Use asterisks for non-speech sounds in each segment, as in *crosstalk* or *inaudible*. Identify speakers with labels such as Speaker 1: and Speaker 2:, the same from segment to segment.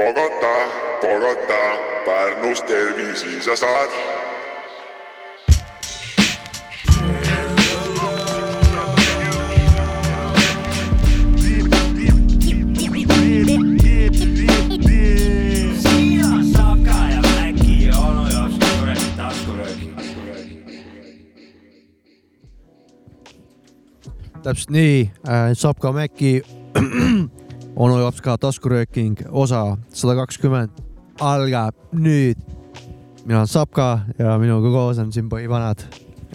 Speaker 1: Bogota , Bogota , Pärnus tervisi sa saad .
Speaker 2: täpselt nii äh, , saab ka Maci *clears throat* onu laps ka taskurööking , osa sada kakskümmend algab nüüd . mina olen Sapka ja minuga koos on siin põhivanad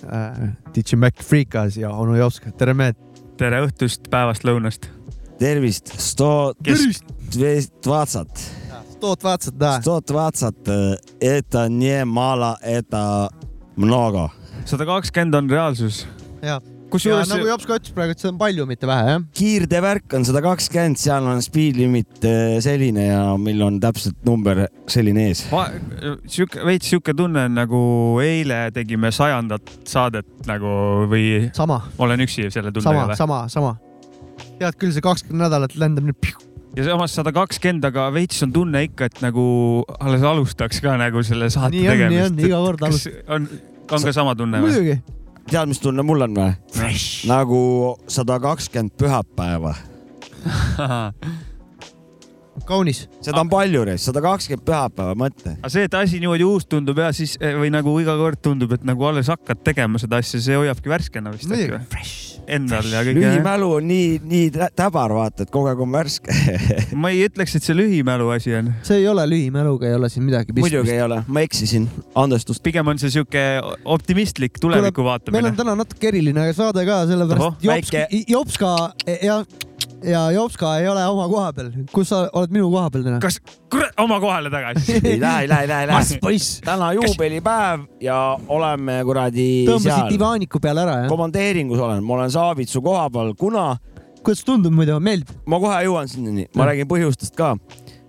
Speaker 2: äh, , DJ Mac Freekas ja onu laps , tere mehed .
Speaker 3: tere õhtust , päevast , lõunast .
Speaker 4: tervist , sto- ,
Speaker 3: Tervist!
Speaker 4: двадцать.
Speaker 2: toot vaatased näe ,
Speaker 4: Сто двадцать – это не мало, это много .
Speaker 3: sada kakskümmend on reaalsus .
Speaker 2: jah . ja
Speaker 3: kusjuures
Speaker 2: nagu Jops ka ütles praegu , et see on palju , mitte vähe jah .
Speaker 4: kiirdevärk on sada kakskümmend , seal on speed limit eh, selline ja meil on täpselt number selline ees .
Speaker 3: ma , sihuke , veits sihuke tunne on nagu eile tegime sajandat saadet nagu või
Speaker 2: sama ,
Speaker 3: olen üksi selle tundega
Speaker 2: sama ,
Speaker 3: või ?
Speaker 2: sama , sama . tead küll , see kakskümmend nädalat lendab nüüd .
Speaker 3: ja samas sada kakskümmend , aga veits on tunne ikka , et nagu alles alustaks ka nagu selle saate
Speaker 2: Nii on, nii
Speaker 3: tegemist .
Speaker 2: on, iga kord
Speaker 3: kas on , on ka sama tunne või ? *laughs*
Speaker 2: muidugi ,
Speaker 4: tead , mis tunne mul on või ? nagu sada kakskümmend pühapäeva .
Speaker 3: aga
Speaker 2: kaunis .
Speaker 4: seda on palju , sada kakskümmend pühapäeva , mõtle .
Speaker 3: see , et asi niimoodi uus tundub ja siis või nagu iga kord tundub , et nagu alles hakkad tegema seda asja , see hoiabki värskena vist äkki või ?
Speaker 2: muidugi .
Speaker 3: Endal ja kõige .
Speaker 4: lühimälu on nii , nii tä- täbar , vaata , et kogu aeg on värske .
Speaker 3: ma ei ütleks , et see lühimälu asi on ,
Speaker 2: see ei ole lühimäluga , ei ole siin midagi
Speaker 4: muidugi
Speaker 2: pistmist .
Speaker 4: ei ole , ma eksisin , andestust .
Speaker 3: pigem on see sihuke optimistlik tuleviku
Speaker 2: meil
Speaker 3: vaatamine
Speaker 2: on . täna natuke eriline saade ka ,
Speaker 3: Ohoh,
Speaker 2: sellepärast Jops
Speaker 4: väike- ,
Speaker 2: Jopska e-, ja , ja Jopska ei ole oma koha peal . kus sa oled minu koha peal täna ?
Speaker 3: kas , kurat , oma kohale
Speaker 4: *laughs*
Speaker 3: tagasi .
Speaker 4: ei lähe , ei *laughs* lähe , ei lähe , ei lähe .
Speaker 2: poiss ,
Speaker 4: täna juubelipäev ja oleme kuradi
Speaker 2: tõmbasid
Speaker 4: seal .
Speaker 2: divaaniku peale ära , jah ?
Speaker 4: komandeeringus olen , ma olen Saavitsu koha peal , kuna
Speaker 2: kuidas tundub muidu , meeldib ?
Speaker 4: ma kohe jõuan sinnani , ma räägin põhjustest ka ,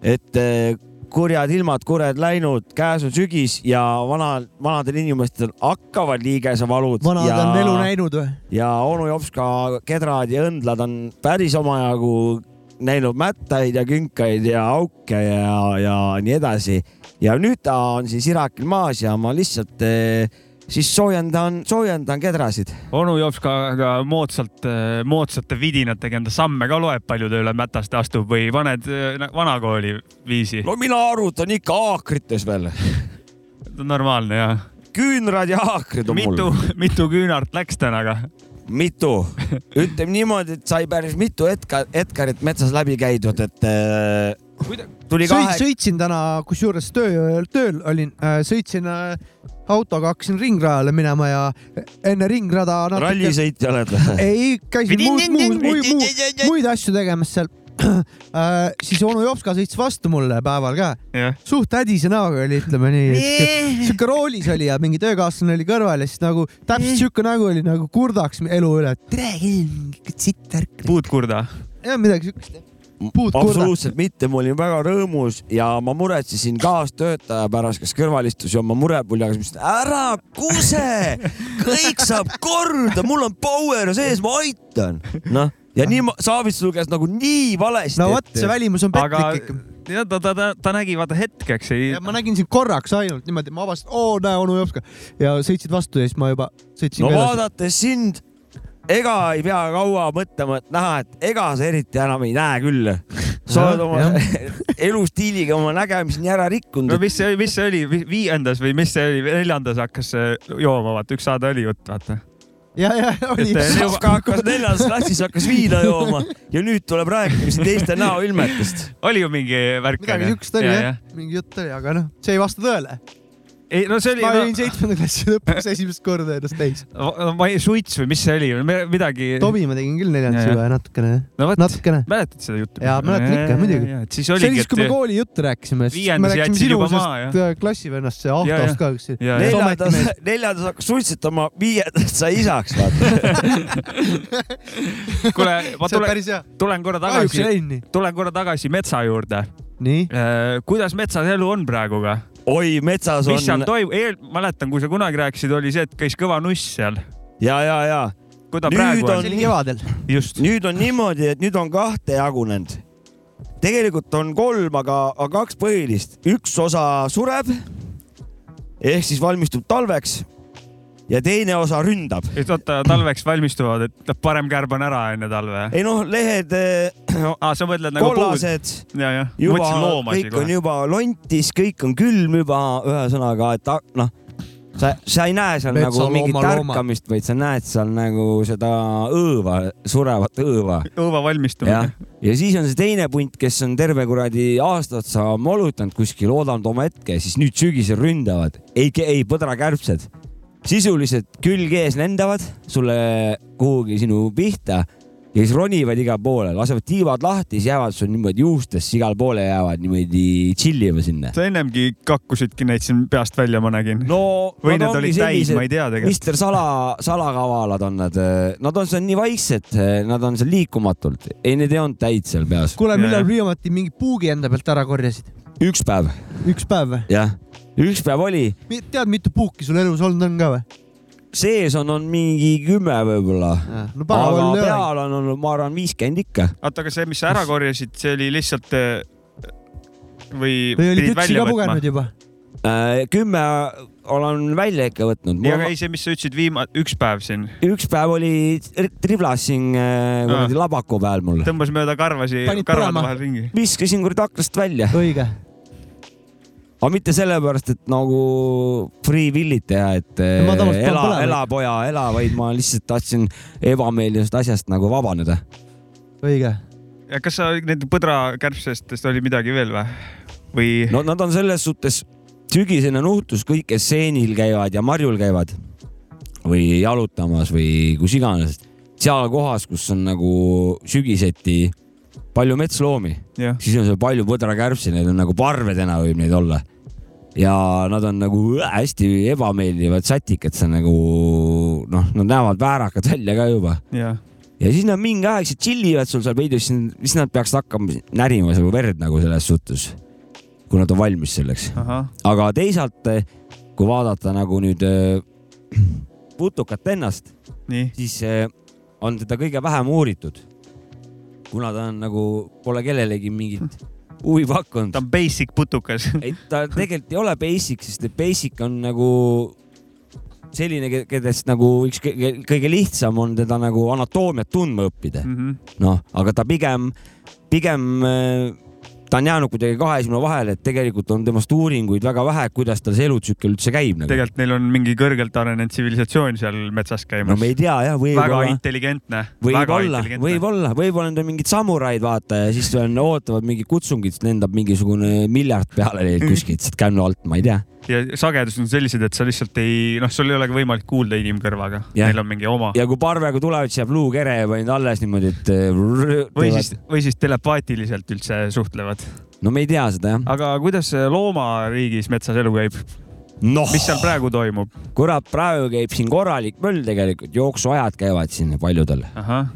Speaker 4: et eh, kurjad ilmad , kurjad läinud , käes on sügis ja vana , vanadel inimestel hakkavad liigesevalud
Speaker 2: vanad
Speaker 4: ja
Speaker 2: on elu näinud või ?
Speaker 4: ja onu Jopska kedrad ja õndlad on päris omajagu näinud mättaid ja künkaid ja auke ja , ja nii edasi . ja nüüd ta on siis Irakil maas ja ma lihtsalt eh, siis soojendan , soojendan kedrasid .
Speaker 3: onu jops ka, ka moodsalt , moodsate vidinatega enda samme ka loeb , palju ta üle mätast astub või paned eh, vanakooli viisi .
Speaker 4: no mina arvutan ikka haakrites veel ,
Speaker 3: normaalne ja .
Speaker 4: küünrad ja haakrid on
Speaker 3: mitu
Speaker 4: mul .,
Speaker 3: mitu küünart läks täna ka ?
Speaker 4: mitu , ütleme niimoodi , et sai päris mitu Edgar , Edgarit metsas läbi käidud , et eh, tuli
Speaker 2: sõit ,
Speaker 4: kahe ,
Speaker 2: sõitsin täna , kusjuures töö , tööl olin , sõitsin äh, autoga , hakkasin ringrajale minema ja enne ringrada natuke
Speaker 4: rallisõitja oled või ?
Speaker 2: *laughs* ei , käisin muud , muud , muid , muid , muid asju tegemas seal . *clears throat* siis onu Jopska sõitis vastu mulle päeval ka ,
Speaker 3: jah ,
Speaker 2: suht hädise näoga oli , ütleme nii . sihuke roolis oli ja mingi töökaaslane oli kõrval ja siis nagu täpselt sihuke nägu oli nagu kurdaks elu üle , et tere , sitt värk .
Speaker 3: puutkurda .
Speaker 2: jah , midagi siukest . puud kurda .
Speaker 4: absoluutselt mitte , ma olin väga rõõmus ja ma muretsesin kaastöötaja pärast , kes kõrval istus ja oma murepuljaga , siis ma ütlesin ära kuse , kõik saab korda , mul on power sees , ma aitan .
Speaker 2: *laughs*
Speaker 4: noh , ja nii ma , Saavits luges nagu nii valesti
Speaker 2: no vot , see välimus on
Speaker 3: aga
Speaker 2: petlik ikka .
Speaker 3: ja ta , ta , ta , ta nägi vaata hetkeks ei
Speaker 2: ja . ma nägin sind korraks ainult niimoodi , ma avastasin , oo näe onu Jopska ja sõitsid vastu ja siis ma juba sõitsin
Speaker 4: no
Speaker 2: ka edasi .
Speaker 4: vaadates sind , ega ei pea kaua mõtlema , et näha , et ega sa eriti enam ei näe küll . sa oled *laughs* oma elustiiliga oma nägemise nii ära rikkunud
Speaker 3: no , mis see , mis see oli , viiendas või mis see oli , neljandas hakkas see jooma , vaata üks saade oli jutt , vaata .
Speaker 2: ja , ja oli
Speaker 3: Et, . eh,
Speaker 4: Sofka hakkas neljandas klassis hakkas viina jooma ja nüüd tuleb rääkimist teiste näoilmetest .
Speaker 3: oli ju mingi värk .
Speaker 2: midagi siukest oli jah , mingi jutt oli , aga noh , see ei vasta tõele .
Speaker 3: ei no see oli
Speaker 2: ma olin
Speaker 3: no, ,
Speaker 2: seitsmenda klassi lõpus esimest korda ennast täis .
Speaker 3: ma ei , suits või mis see oli , midagi .
Speaker 2: Tobi ma tegin küll neljandas
Speaker 3: Ja, ja.
Speaker 2: juba ja natukene ,
Speaker 3: no vot ,
Speaker 2: natukene .
Speaker 3: mäletad seda juttu ?
Speaker 2: Jaa, mäletan ikka, muidugi. .
Speaker 3: et siis
Speaker 2: see oli
Speaker 3: oligi ,
Speaker 2: siis , kui me
Speaker 3: et
Speaker 2: kooli juttu rääkisime , siis me
Speaker 3: Viiendas
Speaker 2: rääkisime
Speaker 3: jätsid juba
Speaker 2: sinusest klassivennast , see
Speaker 3: Ja, ja.
Speaker 2: Ahtost ka , eks ju .
Speaker 3: ja , ja ,
Speaker 4: neljandas
Speaker 2: Ometi ,
Speaker 4: neljandas hakkas suitsetama , viiendast sai isaks , vaata .
Speaker 3: *laughs* kuule , ma
Speaker 2: *laughs* see on
Speaker 3: tulen ,
Speaker 2: päris hea .
Speaker 3: tulen korra
Speaker 2: kahjuks ei
Speaker 3: tagasi ,
Speaker 2: läinud nii .
Speaker 3: tulen korra tagasi metsa juurde .
Speaker 2: nii ,
Speaker 3: kuidas metsas elu on praegu ka ?
Speaker 4: oi , metsas
Speaker 3: mis seal
Speaker 4: on
Speaker 3: toimub , eel- , mäletan , kui sa kunagi rääkisid , oli see , et käis kõva nuss seal .
Speaker 4: ja , ja , ja
Speaker 3: kui ta
Speaker 4: Nüüd
Speaker 3: praegu
Speaker 4: on-
Speaker 3: on ,
Speaker 2: see oli kevadel .
Speaker 3: just .
Speaker 4: nüüd on niimoodi , et nüüd on kahte jagunenud . tegelikult on kolm , aga , aga kaks põhilist , üks osa sureb ehk siis valmistub talveks ja teine osa ründab .
Speaker 3: et oota , talveks valmistuvad , et noh, parem kärban ära enne talve .
Speaker 4: ei noh , lehed eh,
Speaker 3: aa , sa mõtled nagu puud .
Speaker 4: kollased ,
Speaker 3: ja , jah .
Speaker 4: juba
Speaker 3: mõtlesin loomasi
Speaker 4: kõik on
Speaker 3: kohe .
Speaker 4: juba lontis , kõik on külm juba , ühesõnaga , et a- noh , sa , sa ei näe seal
Speaker 2: Metsa
Speaker 4: nagu mingit
Speaker 2: looma- looma.
Speaker 4: tärkamist , vaid sa näed seal nagu seda õõva , surevat õõva
Speaker 3: õõva
Speaker 4: jah
Speaker 3: valmistumine .,
Speaker 4: ja siis on see teine punt , kes on terve kuradi aasta otsa molutanud kuskil , oodanud oma hetke , siis nüüd sügisel ründavad , ei , ei põdrakärbsed . sisuliselt külg ees lendavad sulle kuhugi sinu pihta ja siis ronivad igale poole , lasevad tiivad lahti , siis jäävad sul niimoodi juustesse igale poole jäävad niimoodi tšillima sinna .
Speaker 3: sa ennemgi kakkusidki neid siin peast välja , ma nägin .
Speaker 4: no
Speaker 3: või nad olid täis , ma ei tea tegelikult .
Speaker 4: Mister Sala , salakavalad on nad , nad on seal nii vaiksed , nad on seal liikumatult , ei , need ei olnud täid seal peas ,
Speaker 2: kuule ,
Speaker 3: Jaa,
Speaker 2: millal
Speaker 3: jah.
Speaker 2: viimati mingi puugi enda pealt ära korjasid ?
Speaker 4: üks päev
Speaker 2: üks päev või ?
Speaker 4: jah , üks päev oli ,
Speaker 2: tead , mitu puuki sul elus olnud on ka või ?
Speaker 4: sees on olnud mingi kümme võib-olla . aga
Speaker 2: no päeval ei ole .
Speaker 4: peal on olnud , ma arvan , viiskümmend ikka .
Speaker 3: oota , aga see , mis sa ära korjasid , see oli lihtsalt äh, või
Speaker 2: või olid
Speaker 3: pidid
Speaker 2: üksi
Speaker 3: välja
Speaker 2: ka
Speaker 3: võtma ?
Speaker 2: pugenud juba ?
Speaker 4: Äh, kümme olen välja ikka võtnud
Speaker 3: ei , aga . ei , see , mis sa ütlesid viima- , üks päev siin ,
Speaker 2: Noh.
Speaker 4: üks päev oli tri- triblas siin äh, kuradi labaku peal mul .
Speaker 3: tõmbas mööda karvasi
Speaker 2: Panid
Speaker 3: karvade
Speaker 2: põlema?
Speaker 3: vahel ringi .
Speaker 4: viskasin kuradi aknast välja ,
Speaker 2: õige .
Speaker 4: aga mitte sellepärast , et nagu free will'it teha , et äh,
Speaker 2: Ma tavaliselt panen
Speaker 4: ela ela
Speaker 2: põlema. ,
Speaker 4: poja , ela , vaid ma lihtsalt tahtsin ebameeldivast asjast nagu vabaneda .
Speaker 2: õige .
Speaker 3: ja kas sa nende põdrakärbsestest oli midagi veel või ? või no.
Speaker 4: no nad on selles suhtes sügisene nuhtlus , kõik , kes seenil käivad ja marjul käivad või jalutamas või kus iganes , seal kohas , kus on nagu sügiseti palju metsloomi ,
Speaker 3: jah ,
Speaker 4: siis on seal palju põdrakärbsi , neid on nagu parvedena võib neid olla . ja nad on nagu hästi ebameeldivad satikad , see on nagu noh , nad näevad väärakad välja ka juba
Speaker 3: jah .
Speaker 4: ja siis nad mingi aeg siis tšillivad sul seal peidus , siis nad peaksid hakkama närima seal verd nagu selles suhtes , kui nad on valmis selleks .
Speaker 3: ahah ,
Speaker 4: aga teisalt , kui vaadata nagu nüüd äh, *clears throat* putukat ennast ,
Speaker 3: nii .
Speaker 4: siis äh, on teda kõige vähem uuritud . kuna ta on nagu , pole kellelegi
Speaker 3: *laughs*
Speaker 4: mingit huvi
Speaker 3: ta
Speaker 4: pakkunud .
Speaker 3: on basic putukas .
Speaker 4: ei , ta tegelikult ei ole basic , sest et basic on nagu selline , kellest nagu üks kõige, kõige lihtsam on teda nagu anatoomiat tundma õppida .
Speaker 3: Mhm.
Speaker 4: noh , aga ta pigem , pigem äh, ta on jäänud kuidagi kahe silma vahele , et tegelikult on temast uuringuid väga vähe , kuidas tal see elutsükkel üldse käib nagu. .
Speaker 3: tegelikult neil on mingi kõrgelt arenenud tsivilisatsioon seal metsas
Speaker 4: no
Speaker 3: käimas
Speaker 4: me . ei tea jah ,
Speaker 3: väga
Speaker 4: võib-olla ,
Speaker 3: intelligentne , väga
Speaker 4: võib-olla ,
Speaker 3: intelligentne .
Speaker 4: võib-olla , võib-olla need on mingid samuraid , vaata ja siis on , ootavad mingi kutsungit , siis lendab mingisugune miljard peale neil kuskilt sealt kännu alt , ma ei tea .
Speaker 3: ja sagedused on sellised , et sa lihtsalt ei , noh , sul ei olegi võimalik kuulda inimkõrvaga ,
Speaker 4: Jah.
Speaker 3: neil on mingi oma .
Speaker 4: ja kui parvega tulevad , siis jääb luukere juba nüüd alles niimoodi , et äh, rrrr-
Speaker 3: või
Speaker 4: teevad-
Speaker 3: siis , või siis telepaatiliselt üldse suhtlevad .
Speaker 4: no me ei tea seda jah .
Speaker 3: aga kuidas eh, loomariigis metsas elu käib ,
Speaker 4: noh
Speaker 3: mis seal praegu toimub ?
Speaker 4: kurat , praegu käib siin korralik möll tegelikult , jooksuajad käivad siin paljudel ,
Speaker 3: ahah ,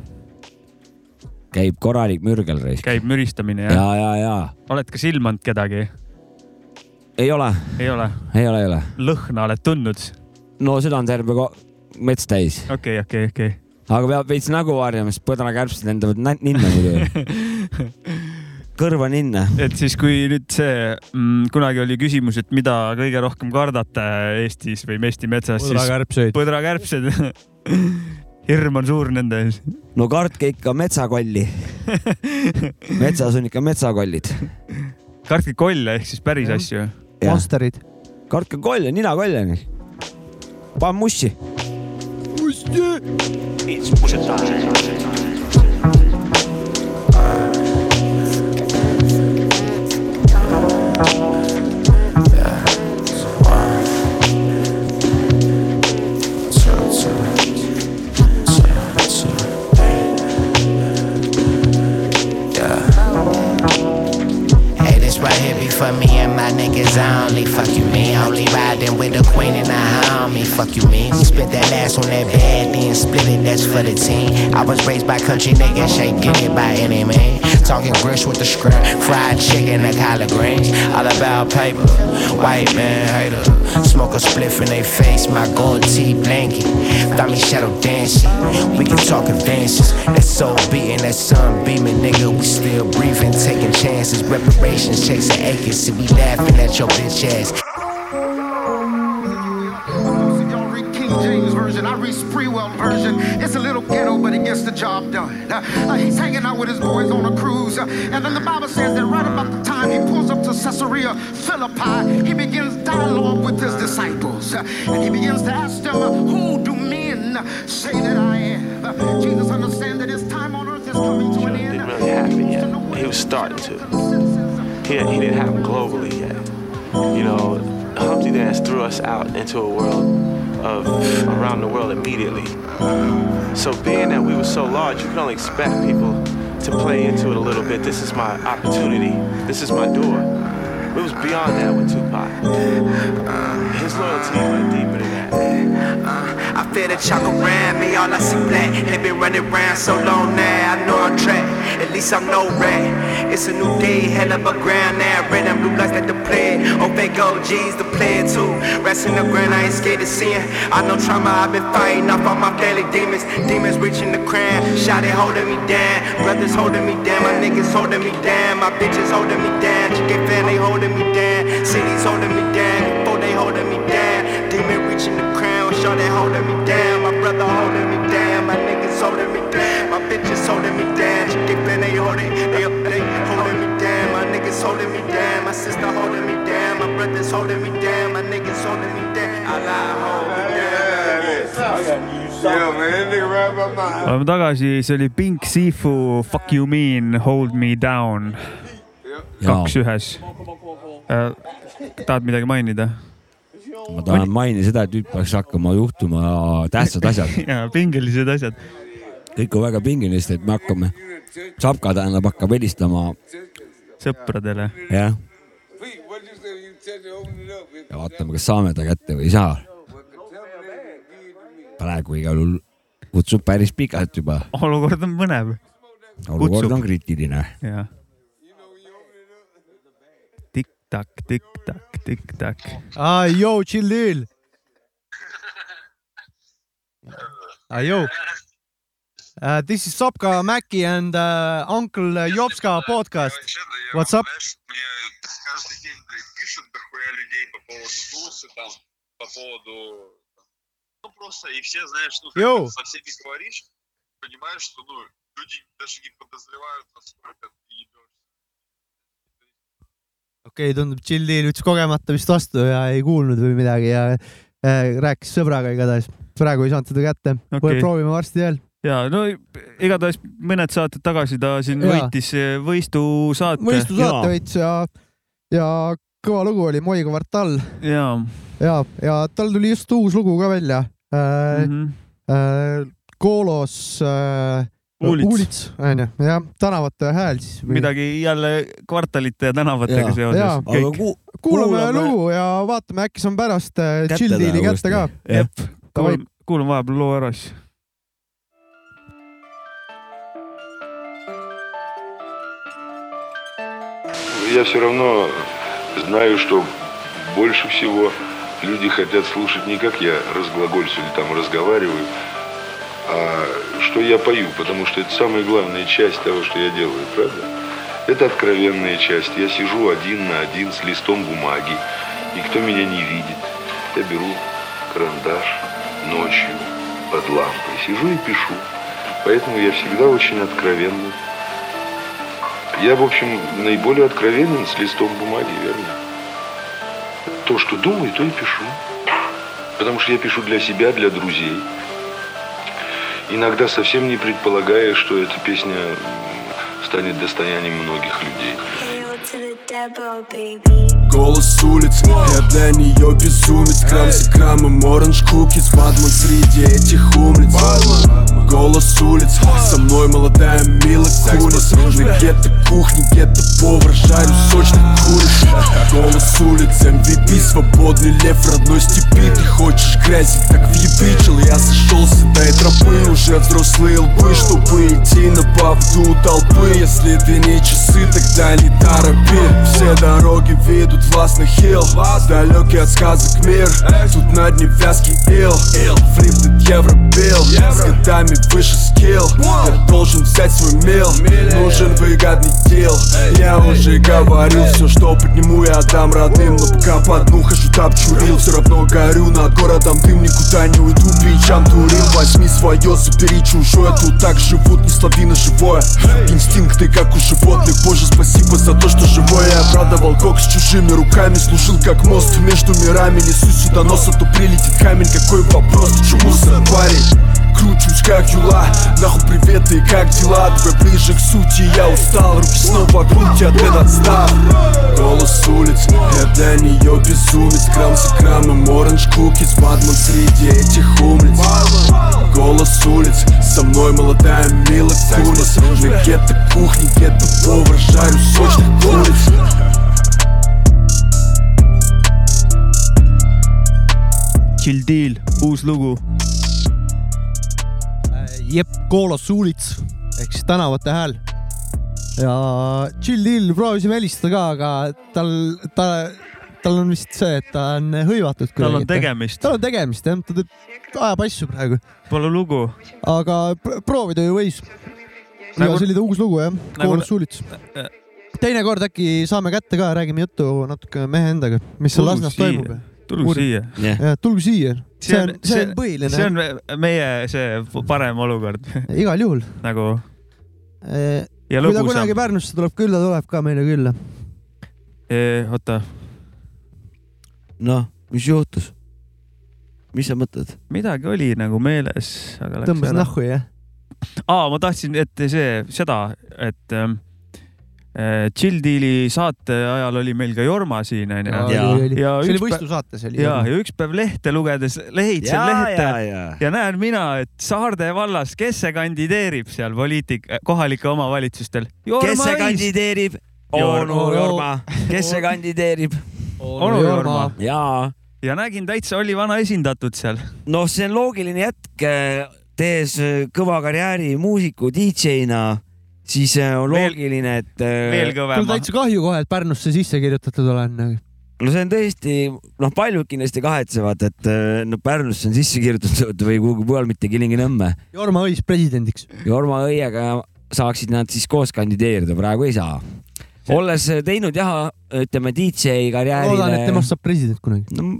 Speaker 4: käib korralik mürgel reis .
Speaker 3: käib müristamine jah ja. ?
Speaker 4: ja , ja , ja
Speaker 3: oled kas ilmanud kedagi ?
Speaker 4: ei ole ,
Speaker 3: ei ole ,
Speaker 4: ei ole , ei ole .
Speaker 3: lõhna oled tundnud ,
Speaker 4: no seda on terve ko- mets täis ,
Speaker 3: okei , okei , okei .
Speaker 4: aga peab veits nägu varjama , sest põdrakärbsed lendavad nä- ninna muidu .
Speaker 3: *laughs*
Speaker 4: kõrva ninna .
Speaker 3: et siis , kui nüüd see mm, , kunagi oli küsimus , et mida kõige rohkem kardate Eestis või Eesti metsas , siis
Speaker 2: kullakärbseid .
Speaker 3: põdrakärbsed . *laughs* hirm on suur nende ees .
Speaker 4: no kartke ikka
Speaker 3: *laughs*
Speaker 4: metsakolli . metsas on ikka metsakollid .
Speaker 3: kartke kolle ehk siis päris asju .
Speaker 2: Monsterid .
Speaker 4: kartke kolle , ninakolle . pane mussi .
Speaker 5: Hey, this right here be for me and my niggas only. Fuck you, mean Only riding with the queen and a homie. Fuck you, mean We spent that last on that bad, then split it. That's for the team. I was raised by country niggas, ain't get it by any man. Talking grits with the script, fried chicken and collard greens. All about paper, white man hater. Smoke a spliff in they face, my gold tea blanket. Thought me shadow dancing. We can talk advances. That soul beating, that sun beaming, nigga. We still breathing, taking chances. Reparations, checks and acres. See, we laughing at your bitch ass.
Speaker 6: So y'all read King James version. I read Spreewell version. It's a little ghetto, but it gets the job done. Uh, uh, he's hanging out with his boys on a cruise, uh, and then the Bible says that right about the time he pulls up to Caesarea Philippi, he begins dialogue with his disciples, uh, and he begins to ask them, uh, "Who do men say that I am?" Uh, Jesus understands that his time on earth is coming to an
Speaker 7: He
Speaker 6: end.
Speaker 7: wasn't really happy yet. He was starting to. He, he didn't have him globally yet. You know, Humpty Dance threw us out into a world of around the world immediately. So being that we were so large, you can only expect people to play into it a little bit. This is my opportunity. This is my door. It was beyond that with Tupac. His loyalty went deeper than
Speaker 8: Uh,
Speaker 7: that.
Speaker 8: I feel the chalk around me, all I see black. And it been running round so long now, I know I'm trapped. At least I'm no rat. It's a new day, hell of a ground now. Red and blue lights like the play. Oh, Open gold G's the player too. Rest in the ground, I ain't scared of sin. I know trauma, I've been fighting off all my family demons. Demons reaching the crown. Shot it holding me down. Brothers holding me down, my niggas holding me down. My bitches holding me down. Chicken family holding me down. Cities holding me down. Before they holding me down. Demon reaching the crown, shorty holding me down. My brother holding me down, my niggas holding me down. My bitches holding me down. She dipping, they holding, they, they holding me down. My niggas holding me down, my sister holding me down. My brothers holding me down, my niggas holding me down. Allah hold me
Speaker 3: oleme tagasi , see oli Pink Sifu Fuck you mean , hold me down , kaks ühes . tahad midagi mainida ?
Speaker 4: ma tahan mainida seda , et nüüd peaks hakkama juhtuma tähtsad asjad .
Speaker 3: *laughs* jaa , pingelised asjad .
Speaker 4: kõik on väga pingeline , sest et me hakkame , Sapka tähendab , hakkab helistama ,
Speaker 3: sõpradele .
Speaker 4: jah . ja vaatame , kas saame ta kätte või ei saa . praegu igal juhul kutsub päris pikalt juba ,
Speaker 3: olukord on põnev .
Speaker 4: olukord
Speaker 3: Kutsub.
Speaker 4: on kriitiline .
Speaker 3: jah . tikk-takk , tikk-takk , tikk-takk .
Speaker 2: aa , joo , chill deal . aa , joo . This is Sopka Maci and uh, Uncle Jopska podcast . What's up?
Speaker 9: Мне каждый день, блядь, пишут дохуя людей по поводу тусы, там, по поводу... Ну, просто, и все, знаешь, ну, как
Speaker 2: Йоу.
Speaker 9: бы со всеми говоришь, понимаешь, что, ну, люди даже не подозревают, насколько ты ебешь.
Speaker 2: okei okay, , tundub chill deal ütles kogemata vist vastu ja ei kuulnud või midagi ja äh, rääkis sõbraga igatahes . praegu ei saanud teda kätte okay.
Speaker 3: Okei. .
Speaker 2: proovime varsti veel .
Speaker 3: ja no igatahes mõned saated tagasi ta siin
Speaker 2: Jaa.
Speaker 3: võitis eh, võistu saate .
Speaker 4: Jaa.
Speaker 2: mõistusaate võitis ja , ja kõva lugu oli Moi kvartal
Speaker 3: jaa .
Speaker 2: ja , ja tal tuli just uus lugu ka välja äh, . äh, Koolos äh,
Speaker 3: Uulits.
Speaker 2: Uulits , onju , jah , tänavate hääl siis .
Speaker 3: midagi jälle kvartalite ja tänavatega
Speaker 4: Jaa.
Speaker 2: Jaa.
Speaker 3: seoses .
Speaker 4: aga
Speaker 3: kõik .
Speaker 4: ku- ,
Speaker 2: kuulame,
Speaker 4: kuulame-
Speaker 2: kuulame lugu ja vaatame , äkki saame pärast äh,
Speaker 4: Kätte
Speaker 2: chill deal'i
Speaker 4: taha
Speaker 2: kätte ka .
Speaker 4: uuesti. Jah.
Speaker 2: Davai.
Speaker 3: kuulame vahepeal loo ära siis .
Speaker 1: Ну, Я все равно знаю, что больше всего люди хотят слушать не как я разглагольствую или там разговариваю, а что я пою, потому что это самая главная часть того, что я делаю, правда? Это откровенная часть. Я сижу один на один с листом бумаги. Никто меня не видит. Я беру карандаш ночью под лампой. Сижу и пишу. Поэтому я всегда очень откровенный. Я, в общем, наиболее откровенен с листом бумаги, верно? То, что думаю, то и пишу. Потому что я пишу для себя, для друзей. Иногда совсем не предполагая, что эта песня м, станет достоянием многих людей.
Speaker 10: Голос улиц, я для нее безумец Грамм за граммом оранж кукис Бадман среди этих умниц Голос улиц, со мной молодая Мила Кунис На гетто кухне где-то повар Жарю сочный куришь Голос улиц, MVP, свободный лев родной степи Ты хочешь грязик, так въебичил Я сошел с этой тропы Уже взрослые лбы, чтобы идти на поводу толпы Если это не часы, тогда не торопи Все дороги ведут вас на хилл Далекий от сказок мир Тут на дне вязкий ил Флип тут евро бил С годами выше скилл Я должен взять свой мил Нужен выгодный дел Я уже говорил, все что подниму я дам родным Но пока по дну хожу, обчурил Все равно горю над городом дым Никуда не уйду, бичам турил Возьми свое, забери чужое Тут так живут, не слави на живое Инстинкты, как у животных Боже, спасибо за то, что живое Я обрадовал кок с чужими руками Служил как мост между мирами Несу сюда нос, а то прилетит камень Какой вопрос, ты чему сэр, парень? Кручусь как юла, нахуй приветы, как дела Давай ближе к сути, я устал, руки снова крути, ответ отстал Голос улиц, я для нее безумец Грамм за граммом, оранж кукис, Бадман среди этих умниц Голос улиц, со мной молодая Мила Кунис На гетто кухне, гетто повар, жарю сочных куриц
Speaker 3: Chill Deal , uus lugu .
Speaker 2: Jep Koolos Suulits ehk siis tänavate hääl . ja Chill Deal proovisime helistada ka , aga tal , ta , tal on vist see , et ta on hõivatud .
Speaker 3: Tal on tegemist.
Speaker 2: tal on tegemist jah , ta teeb , ajab asju praegu ,
Speaker 3: Pole lugu .
Speaker 2: aga pr- proovida ju võis . ja
Speaker 3: Nagu-
Speaker 2: see oli ta uus lugu jah , Koolos Suulits . teinekord äkki saame kätte ka , räägime juttu natuke mehe endaga , mis seal Lasnas toimub .
Speaker 3: tulgu
Speaker 2: Uurib.
Speaker 3: siia .
Speaker 2: ja tulge siia , see on , see on põhiline
Speaker 3: see on meie see parem olukord
Speaker 2: *laughs* igal juhul .
Speaker 3: nagu ja
Speaker 2: kui ta kunagi
Speaker 3: lõbusam .
Speaker 2: Pärnusse tuleb külla , tuleb ka meile külla .
Speaker 3: oota ,
Speaker 4: noh , mis juhtus ? mis sa mõtled ?
Speaker 3: midagi oli nagu meeles , aga läks
Speaker 2: tõmbas
Speaker 3: ära .
Speaker 2: nahku jah ?
Speaker 3: aa , ma tahtsin , et see , seda , et ähm, äh, Chill Deali saate ajal oli meil ka Jorma siin onju . ja
Speaker 2: see oli
Speaker 3: üks päev ,
Speaker 2: võistlusaates oli .
Speaker 3: ja , ja üks päev lehte lugedes lehitsen lehte ja, ja näen mina , et Saarde vallas , kes see kandideerib seal poliitik , kohalikel omavalitsustel ?
Speaker 4: kes see ? kandideerib ?
Speaker 3: Jor-
Speaker 4: onu Jorma . kes see kandideerib ?
Speaker 3: onu Jorma .
Speaker 4: jaa .
Speaker 3: ja nägin täitsa oli vana esindatud seal .
Speaker 4: noh , see on loogiline jätk , tehes eh, kõva karjääri muusiku DJ-na , siis eh, on
Speaker 3: Veel-
Speaker 4: loogiline , et
Speaker 3: veel
Speaker 4: eh,
Speaker 2: mul
Speaker 3: kõvema .
Speaker 2: täitsa kahju kohe , et Pärnusse sisse kirjutatud olen .
Speaker 4: no see on tõesti , noh , paljud kindlasti kahetsevad , et eh, no Pärnusse on sisse kirjutatud või kuhugi mujal , mitte Kilingi-Nõmme .
Speaker 2: Jorma Õis presidendiks .
Speaker 4: Jorma Õiega saaksid nad siis koos kandideerida , praegu ei saa . olles teinud jah , ütleme DJ
Speaker 2: loodan , et
Speaker 4: karjäärile
Speaker 2: temast , saab president kunagi .
Speaker 4: no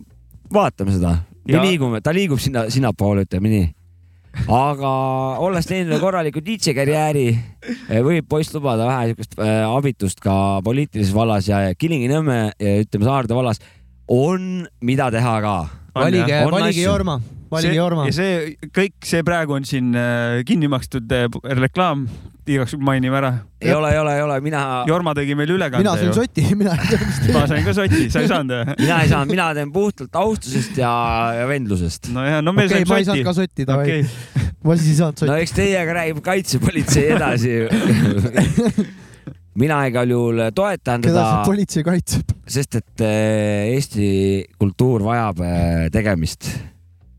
Speaker 4: vaatame seda . me
Speaker 3: Ja-
Speaker 4: liigume , ta liigub sinna , sinnapoole , ütleme nii . aga olles teinud korraliku DJ karjääri , võib poiss lubada vähe siukest äh, abitust ka poliitilises vallas ja Kilingi-Nõmme , ütleme Saarde vallas on , mida teha ka .
Speaker 2: valige ,
Speaker 4: jah. On
Speaker 2: valige
Speaker 4: asju.
Speaker 2: Jorma , valige Jorma
Speaker 3: ja . see kõik , see praegu on siin äh, kinni makstud äh, reklaam , igaks juhuks mainime ära .
Speaker 4: ei ole , ei ole , ei ole , mina ,
Speaker 3: Jorma tegi meile ülekande
Speaker 2: mina sain
Speaker 3: ju .
Speaker 2: soti , *laughs* mina .
Speaker 3: ma sain ka soti , sa ei saanud või ?
Speaker 4: mina ei saa , mina teen puhtalt austusest ja , ja vendlusest .
Speaker 3: no ja , no me
Speaker 2: okei , ma ei saanud ka
Speaker 3: saime soti .
Speaker 2: sotti , davai
Speaker 3: okei .
Speaker 2: *laughs* ma siis ei saanud
Speaker 4: no
Speaker 2: sotti .
Speaker 4: eks teiega räägib kaitsepolitsei edasi
Speaker 2: *laughs*
Speaker 4: ju mina igal juhul toetan
Speaker 2: keda see
Speaker 4: teda ,
Speaker 2: politsei kaitseb ?
Speaker 4: sest et eh, Eesti kultuur vajab eh, tegemist .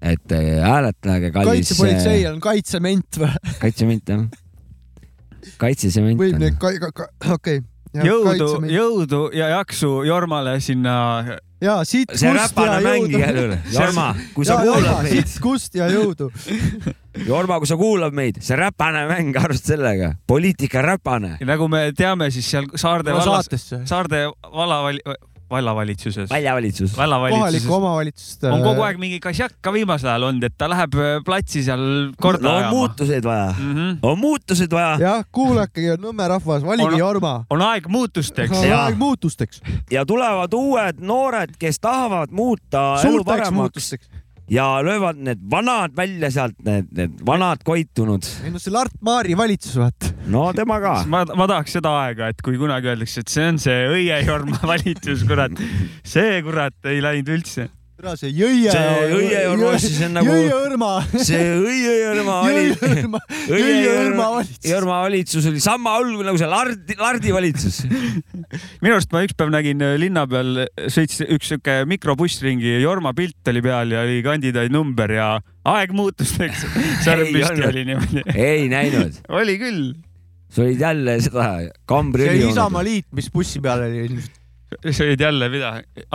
Speaker 4: et eh, hääletage , kallis . äh,
Speaker 2: kaitsepolitsei on kaitsement või ?
Speaker 4: kaitsement jah . kaitsesement
Speaker 2: võib
Speaker 4: on
Speaker 2: neid . ka- , ka- , okei .
Speaker 3: jõudu , jõudu ja jaksu Jormale sinna .
Speaker 2: ja siit ,
Speaker 4: see
Speaker 2: kust ja
Speaker 4: räpane mäng igal
Speaker 2: jõudu .
Speaker 4: juhul . Jorma , kui
Speaker 2: ja
Speaker 4: sa
Speaker 2: Jorma
Speaker 4: kuulad , meid ,
Speaker 2: siit , kust ja jõudu .
Speaker 4: Jorma , kui sa kuulad meid , see räpane mäng , arvesta sellega . poliitika räpane .
Speaker 3: nagu me teame , siis seal Saarde vallas ,
Speaker 2: saatesse .
Speaker 3: Saarde vallavali- , vallavalitsuses ,
Speaker 4: väljavalitsus .
Speaker 3: vallavalitsuses
Speaker 2: kohaliku omavalitsust .
Speaker 3: on kogu aeg mingi kasjaka viimasel ajal olnud , et ta läheb äh, platsi seal korda
Speaker 4: no on
Speaker 3: ajama .
Speaker 4: muutuseid vaja ,
Speaker 3: Mm -hmm.
Speaker 4: Mm-hmm. on muutuseid vaja
Speaker 2: jah , kuulake , Nõmme rahvas , valige
Speaker 3: On-
Speaker 2: Jorma .
Speaker 3: on aeg muutusteks .
Speaker 2: on
Speaker 4: Jaa.
Speaker 2: aeg muutusteks ,
Speaker 4: ja tulevad uued noored , kes tahavad muuta elu
Speaker 2: suurteks
Speaker 4: paremaks
Speaker 2: muutusteks .
Speaker 4: ja löövad need vanad välja sealt , need , need vanad koitunud .
Speaker 2: ei no see Lart Maari valitsus , vaata .
Speaker 4: no tema ka .
Speaker 2: *laughs*
Speaker 3: ma , ma tahaks seda aega , et kui kunagi *laughs* öeldakse , et see on see õie Jorma valitsus , kurat . see kurat ei läinud üldse .
Speaker 2: tere , see jõie .
Speaker 4: See jõieõrma, siis on nagu-
Speaker 2: jõieõrma .
Speaker 4: see õieõrma *laughs* oli ,
Speaker 2: jõieõrma , jõieõrma valitsus .
Speaker 4: õrma valitsus oli sama hull nagu see Lardi , Lardi valitsus .
Speaker 2: *laughs*
Speaker 3: minu arust ma ükspäev nägin äh, linna peal , sõitis üks sihuke mikrobuss ringi ja Jorma pilt oli peal ja oli kandidaadinumber ja aeg muutus , *laughs* eks . särm
Speaker 4: Ei
Speaker 3: püsti
Speaker 4: olnud.
Speaker 3: oli niimoodi .
Speaker 4: ei näinud ,
Speaker 3: *laughs* oli küll .
Speaker 4: sa olid jälle seda kambri
Speaker 2: *laughs* see oli Isamaa . liit , mis bussi peal oli ilmselt .
Speaker 3: sa olid jälle mida ,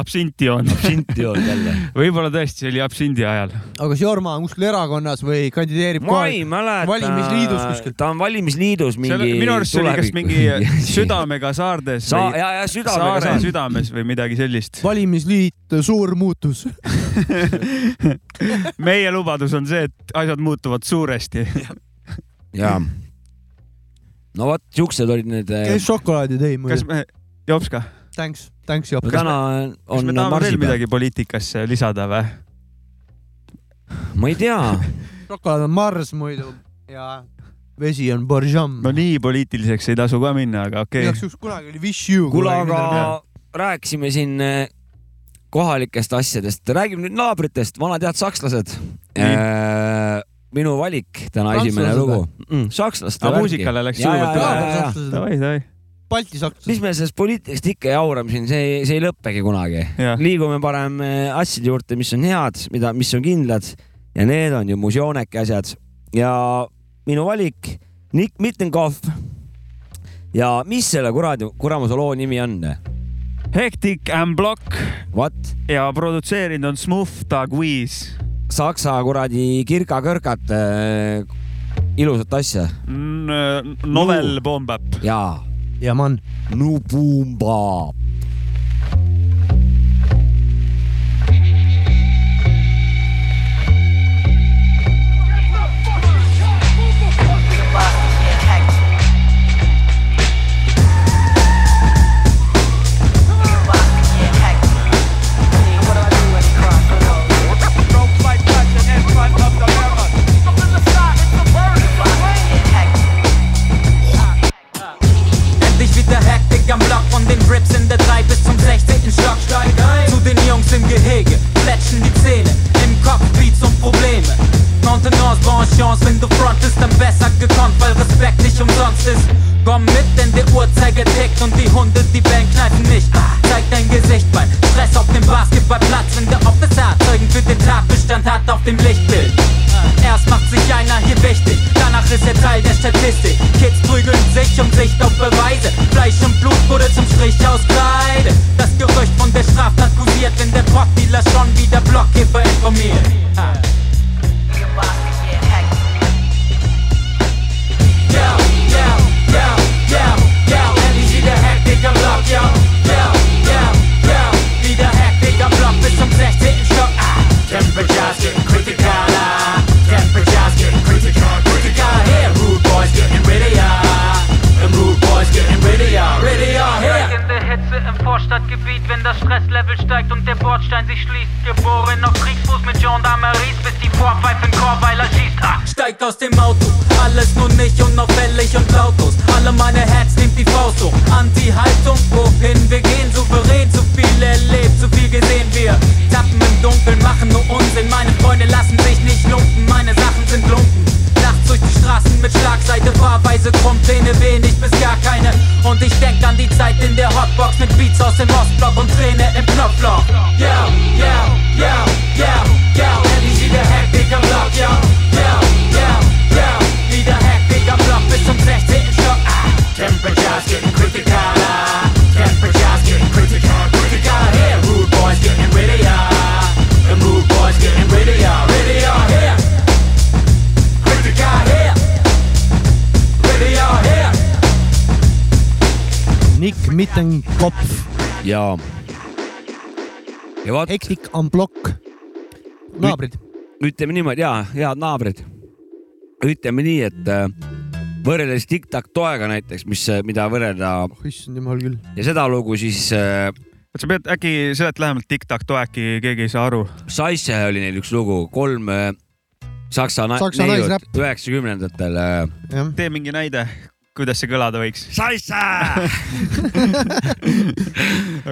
Speaker 3: absinti joonud ?
Speaker 4: absinti olnud jälle .
Speaker 3: *laughs* võib-olla tõesti , see oli absindi ajal .
Speaker 2: aga kas Jorma on kuskil erakonnas või kandideerib
Speaker 4: ma ei
Speaker 2: kohe ?
Speaker 4: mäleta .
Speaker 2: Valimisliidus kuskil.
Speaker 4: ta on valimisliidus mingi .
Speaker 3: minu arust see oli kas
Speaker 4: *laughs*
Speaker 3: mingi äh, südamega saardes
Speaker 4: Sa-
Speaker 3: või
Speaker 4: ja , ja südamega
Speaker 3: saare
Speaker 4: saab .
Speaker 3: südames või midagi sellist .
Speaker 2: valimisliit , suur muutus .
Speaker 3: meie lubadus on see , et asjad muutuvad suuresti .
Speaker 4: jaa . no vot , siuksed olid need . eh,
Speaker 2: kes šokolaadi tõi mulle
Speaker 3: kas ? me , Jops ka ,
Speaker 2: Thanks , thanks
Speaker 4: no
Speaker 2: Jops .
Speaker 4: täna on-
Speaker 3: kas
Speaker 4: on
Speaker 3: me tahame veel
Speaker 4: marsipäev .
Speaker 3: midagi poliitikasse lisada või ?
Speaker 4: ma ei tea ,
Speaker 2: šokolaad on Mars muidu ja vesi on Borjam
Speaker 3: no . nii poliitiliseks ei tasu ka minna , aga okei
Speaker 2: igaks
Speaker 3: okay. .
Speaker 2: juhuks kunagi oli Wish You .
Speaker 4: kuule , aga rääkisime siin eh, kohalikest asjadest , räägime nüüd naabritest , vanad head sakslased . minu valik täna esimene
Speaker 2: Sakslased
Speaker 4: lugu . Mm, sakslaste
Speaker 3: aga
Speaker 4: värgi.
Speaker 3: muusikale läks
Speaker 4: Ja, ja, ja,
Speaker 3: sujuvalt .
Speaker 4: ja.
Speaker 3: Mm. Davai , davai .
Speaker 2: Balti
Speaker 4: mis
Speaker 2: sakslased .
Speaker 4: me sellest poliitikast ikka jaurame siin , see , see ei lõppegi kunagi .
Speaker 3: jah ,
Speaker 4: liigume parem eh, asjade juurde , mis on head , mida , mis on kindlad ja need on ju mu jooneke asjad ja minu valik Nick Mittenkopf . ja mis selle kuradi , kuramuse loo nimi on ?
Speaker 3: Hectic and Block
Speaker 4: What ?
Speaker 3: ja produtseerinud on Smooth Dog Wheeze
Speaker 4: saksa kuradi kirka-kõrkat äh, ilusat asja
Speaker 3: mm, . Novel Bomb Up .
Speaker 4: ja
Speaker 2: ja man .
Speaker 4: Nubumba .
Speaker 11: Endlich wieder Hektik am Block von den Rips in der 3 bis zum 16. Stock steig ein. Zu den Jungs im Gehege, fletschen die Zähne, im Kopf Beats und Probleme. Contenance, Bonchance, wenn du frontest, dann besser gekonnt, weil Respekt nicht umsonst ist. Komm mit, denn der Uhrzeiger tickt und die Hunde, die Bang kneifen nicht. Ah, Zeig dein Gesicht beim Stress auf dem Basketballplatz, wenn der Officer Zeugen für den Tatbestand hat auf dem Lichtbild. Erst macht sich einer hier wichtig, danach ist er Teil der Statistik. Kids prügeln sich um Sicht auf Beweise. Fleisch und Blut wurde zum Strich aus Kreide. Das Gerücht von der Straftat kursiert, wenn der Brockdealer schon wieder Blockkäfer informiert. Ah, Yo, yo, yo, yo, yo, endlich wieder Hektik am Block, yo. Yo, yo, yo, wieder Hektik am Block bis zum 16. Stock. Ah, temperatures getting critical, ah. Temperatures getting critical, critical. Here, rude boys getting wittier. The rude boys getting wittier, wittier. Here. In der Hitze im Vorstadtgebiet, wenn das Stresslevel steigt und der Bordstein sich schließt. Geboren auf Kriegsfuß mit Gendarmerie, bis die Vorpfeifen Chorweiler schießt. Ah. Steigt aus dem Auto, alles nur nicht unauffällig und lautlos. Alle meine Herz nimmt die Faust hoch. Anti-Haltung, wohin wir gehen, souverän, zu viel erlebt, zu viel gesehen wir. Tappen im Dunkeln, machen nur Unsinn. Meine Freunde lassen sich nicht lumpen, meine Sachen sind lumpen. Nachts durch die Straßen mit Schlagseite, paarweise Krummzähne, wenig bis gar keine. Und ich denk an die Zeit in der Hotbox mit Beats aus dem Ostblock und Träne im Knopfloch. Yo, yo, yo, yo, yo, endlich wieder Hektik am Block, yo. Yo, yo, yo, wieder Hektik am Block bis zum 16. Stock. Ah, temperatures getting critical, ah. Temperatures getting critical, critical. Here, rude boys getting wittier. The rude boys getting ah. wittier, wittier. Here, critical, ah, here. Wittier, here.
Speaker 2: Nick Mittenkopf ,
Speaker 4: ja . ja vot ,
Speaker 2: Hektik on plokk . naabrid ,
Speaker 4: ütleme niimoodi ja , head naabrid . ütleme nii , et äh, võrreldes Tic-Tac toega näiteks , mis , mida võrrelda
Speaker 2: Oh, issand jumal küll .
Speaker 4: ja seda lugu , siis äh,
Speaker 3: sa pead äkki selet lähemalt tiktak-to äkki keegi ei saa aru .
Speaker 4: Saisse oli neil üks lugu , kolm äh, saksa, na-
Speaker 2: Saksa
Speaker 4: neiut
Speaker 2: naisräpp.
Speaker 4: üheksakümnendatel äh,
Speaker 2: jah ,
Speaker 3: tee mingi näide . kuidas see kõlada võiks .
Speaker 4: Saissa
Speaker 3: *laughs*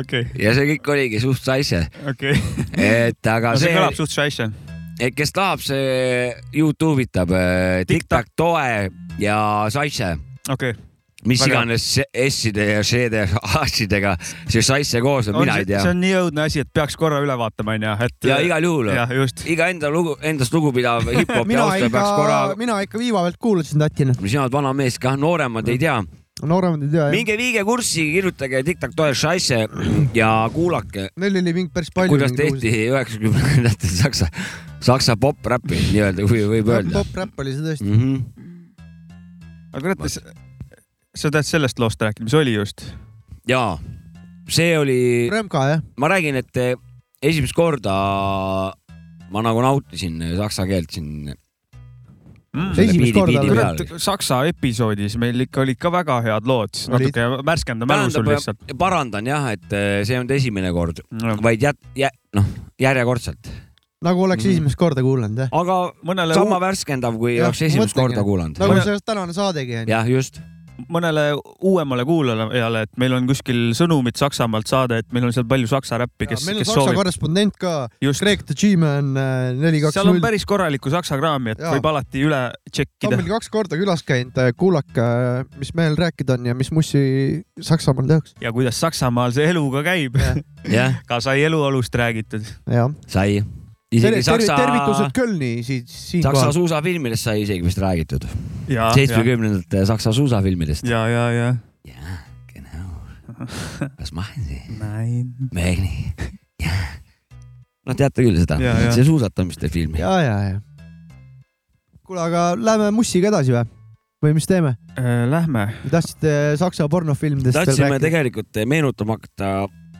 Speaker 3: okei ,
Speaker 4: ja see kõik oligi suht saisse ,
Speaker 3: okei .
Speaker 4: *laughs* et aga
Speaker 3: no see
Speaker 4: see,
Speaker 3: kõlab suht šaša .
Speaker 4: et kes tahab , see Youtube itab eh, Tiktak toe ja saisse ,
Speaker 3: okei .
Speaker 4: mis
Speaker 3: Väga hea.
Speaker 4: iganes se- S-ide ja C-de *laughs* ja H-idega see saisse koosneb , mina ei tea
Speaker 3: see on nii õudne asi , et peaks korra üle vaatama , onju , et .
Speaker 4: ja igal juhul
Speaker 3: jah , just .
Speaker 4: iga enda lugu , endast lugupidav hip-hopi
Speaker 2: mina
Speaker 4: austaja
Speaker 2: ikka
Speaker 4: peaks korra ,,
Speaker 2: mina ikka viiva pealt kuulasin tatina .
Speaker 4: sina oled vana mees kah , nooremad ei tea
Speaker 2: nooremad ei tea .
Speaker 4: minge viige kurssi , kirjutage Tiktak toe šaisse ja kuulake ,
Speaker 2: Neil oli mingi päris palju .
Speaker 4: kuidas tehti üheksakümnendatel *laughs* saksa , saksa pop-räppi nii-öelda , kui võib öelda .
Speaker 2: pop-räpp oli see tõesti .
Speaker 4: Mm -hmm.
Speaker 3: aga kurat , sa tahad sellest loost rääkida , mis oli just ?
Speaker 4: ja see oli ,
Speaker 2: Remka jah ,
Speaker 4: ma räägin , et eh, esimest korda ma nagu nautisin saksa keelt siin . eh,
Speaker 3: Mm.
Speaker 2: Esimest korda või?
Speaker 3: kurat , Saksa episoodis meil ikka olid ka väga head lood , siis
Speaker 2: Olid.
Speaker 3: natuke värskenda mälu sul lihtsalt .
Speaker 4: tähendab , parandan jah , et Eh, see ei olnud esimene kord ,
Speaker 3: Jah.
Speaker 4: vaid jät- , jä- , noh , järjekordselt ,
Speaker 2: nagu oleks
Speaker 4: Mhm.
Speaker 2: esimest korda kuulanud jah .
Speaker 4: aga
Speaker 3: mõnele ,
Speaker 4: sama värskendav , kui
Speaker 2: Jah,
Speaker 4: oleks esimest
Speaker 2: mõtlengi.
Speaker 4: korda kuulanud .
Speaker 2: nagu see tänane saadegi on ju .
Speaker 4: jah , just .
Speaker 3: mõnele uuemale kuulajale , et meil on kuskil sõnumid Saksamaalt saada , et meil on seal palju saksa räppi , kes ,
Speaker 2: meil on
Speaker 3: kes
Speaker 2: saksa
Speaker 3: soovib .
Speaker 2: korrespondent ka ,
Speaker 3: just ,
Speaker 2: Greg the G-Man äh, neli , kaks ,
Speaker 3: seal on
Speaker 2: null .
Speaker 3: päris korralikku saksa kraami , et
Speaker 2: Jaa.
Speaker 3: võib alati
Speaker 2: ta
Speaker 3: üle
Speaker 2: on
Speaker 3: tšekkida
Speaker 2: meil . kaks korda külas käinud , kuulake , mis mehel rääkida on ja mis mussi Saksamaal tehakse .
Speaker 3: ja kuidas Saksamaal see eluga käib .
Speaker 4: jah ,
Speaker 3: *laughs* ka sai eluolust räägitud .
Speaker 2: jah .
Speaker 4: sai .
Speaker 2: Tervi,
Speaker 4: isegi
Speaker 2: tervi,
Speaker 4: Saksa ,
Speaker 2: tervitused Kölni siit ,
Speaker 4: Saksa
Speaker 2: siinkohal .
Speaker 4: suusafilmidest sai isegi vist räägitud .
Speaker 3: ja , ja ,
Speaker 4: seitsmekümnendate Saksa suusafilmidest .
Speaker 3: ja , ja, ja. .
Speaker 4: jaa , genau . kas ma *laughs* olen siin ?
Speaker 3: Nein .
Speaker 4: Meeni . no teate küll seda
Speaker 3: Jaa, jaa. ,
Speaker 4: see suusatamiste film .
Speaker 2: ja , ja , ja . kuule , aga lähme mussiga edasi või ? või mis teeme ?
Speaker 3: Äh, Lähme .
Speaker 2: tahtsite Saksa pornofilmidest veel
Speaker 4: tahtsime
Speaker 2: rääkida ?
Speaker 4: tegelikult meenutama hakata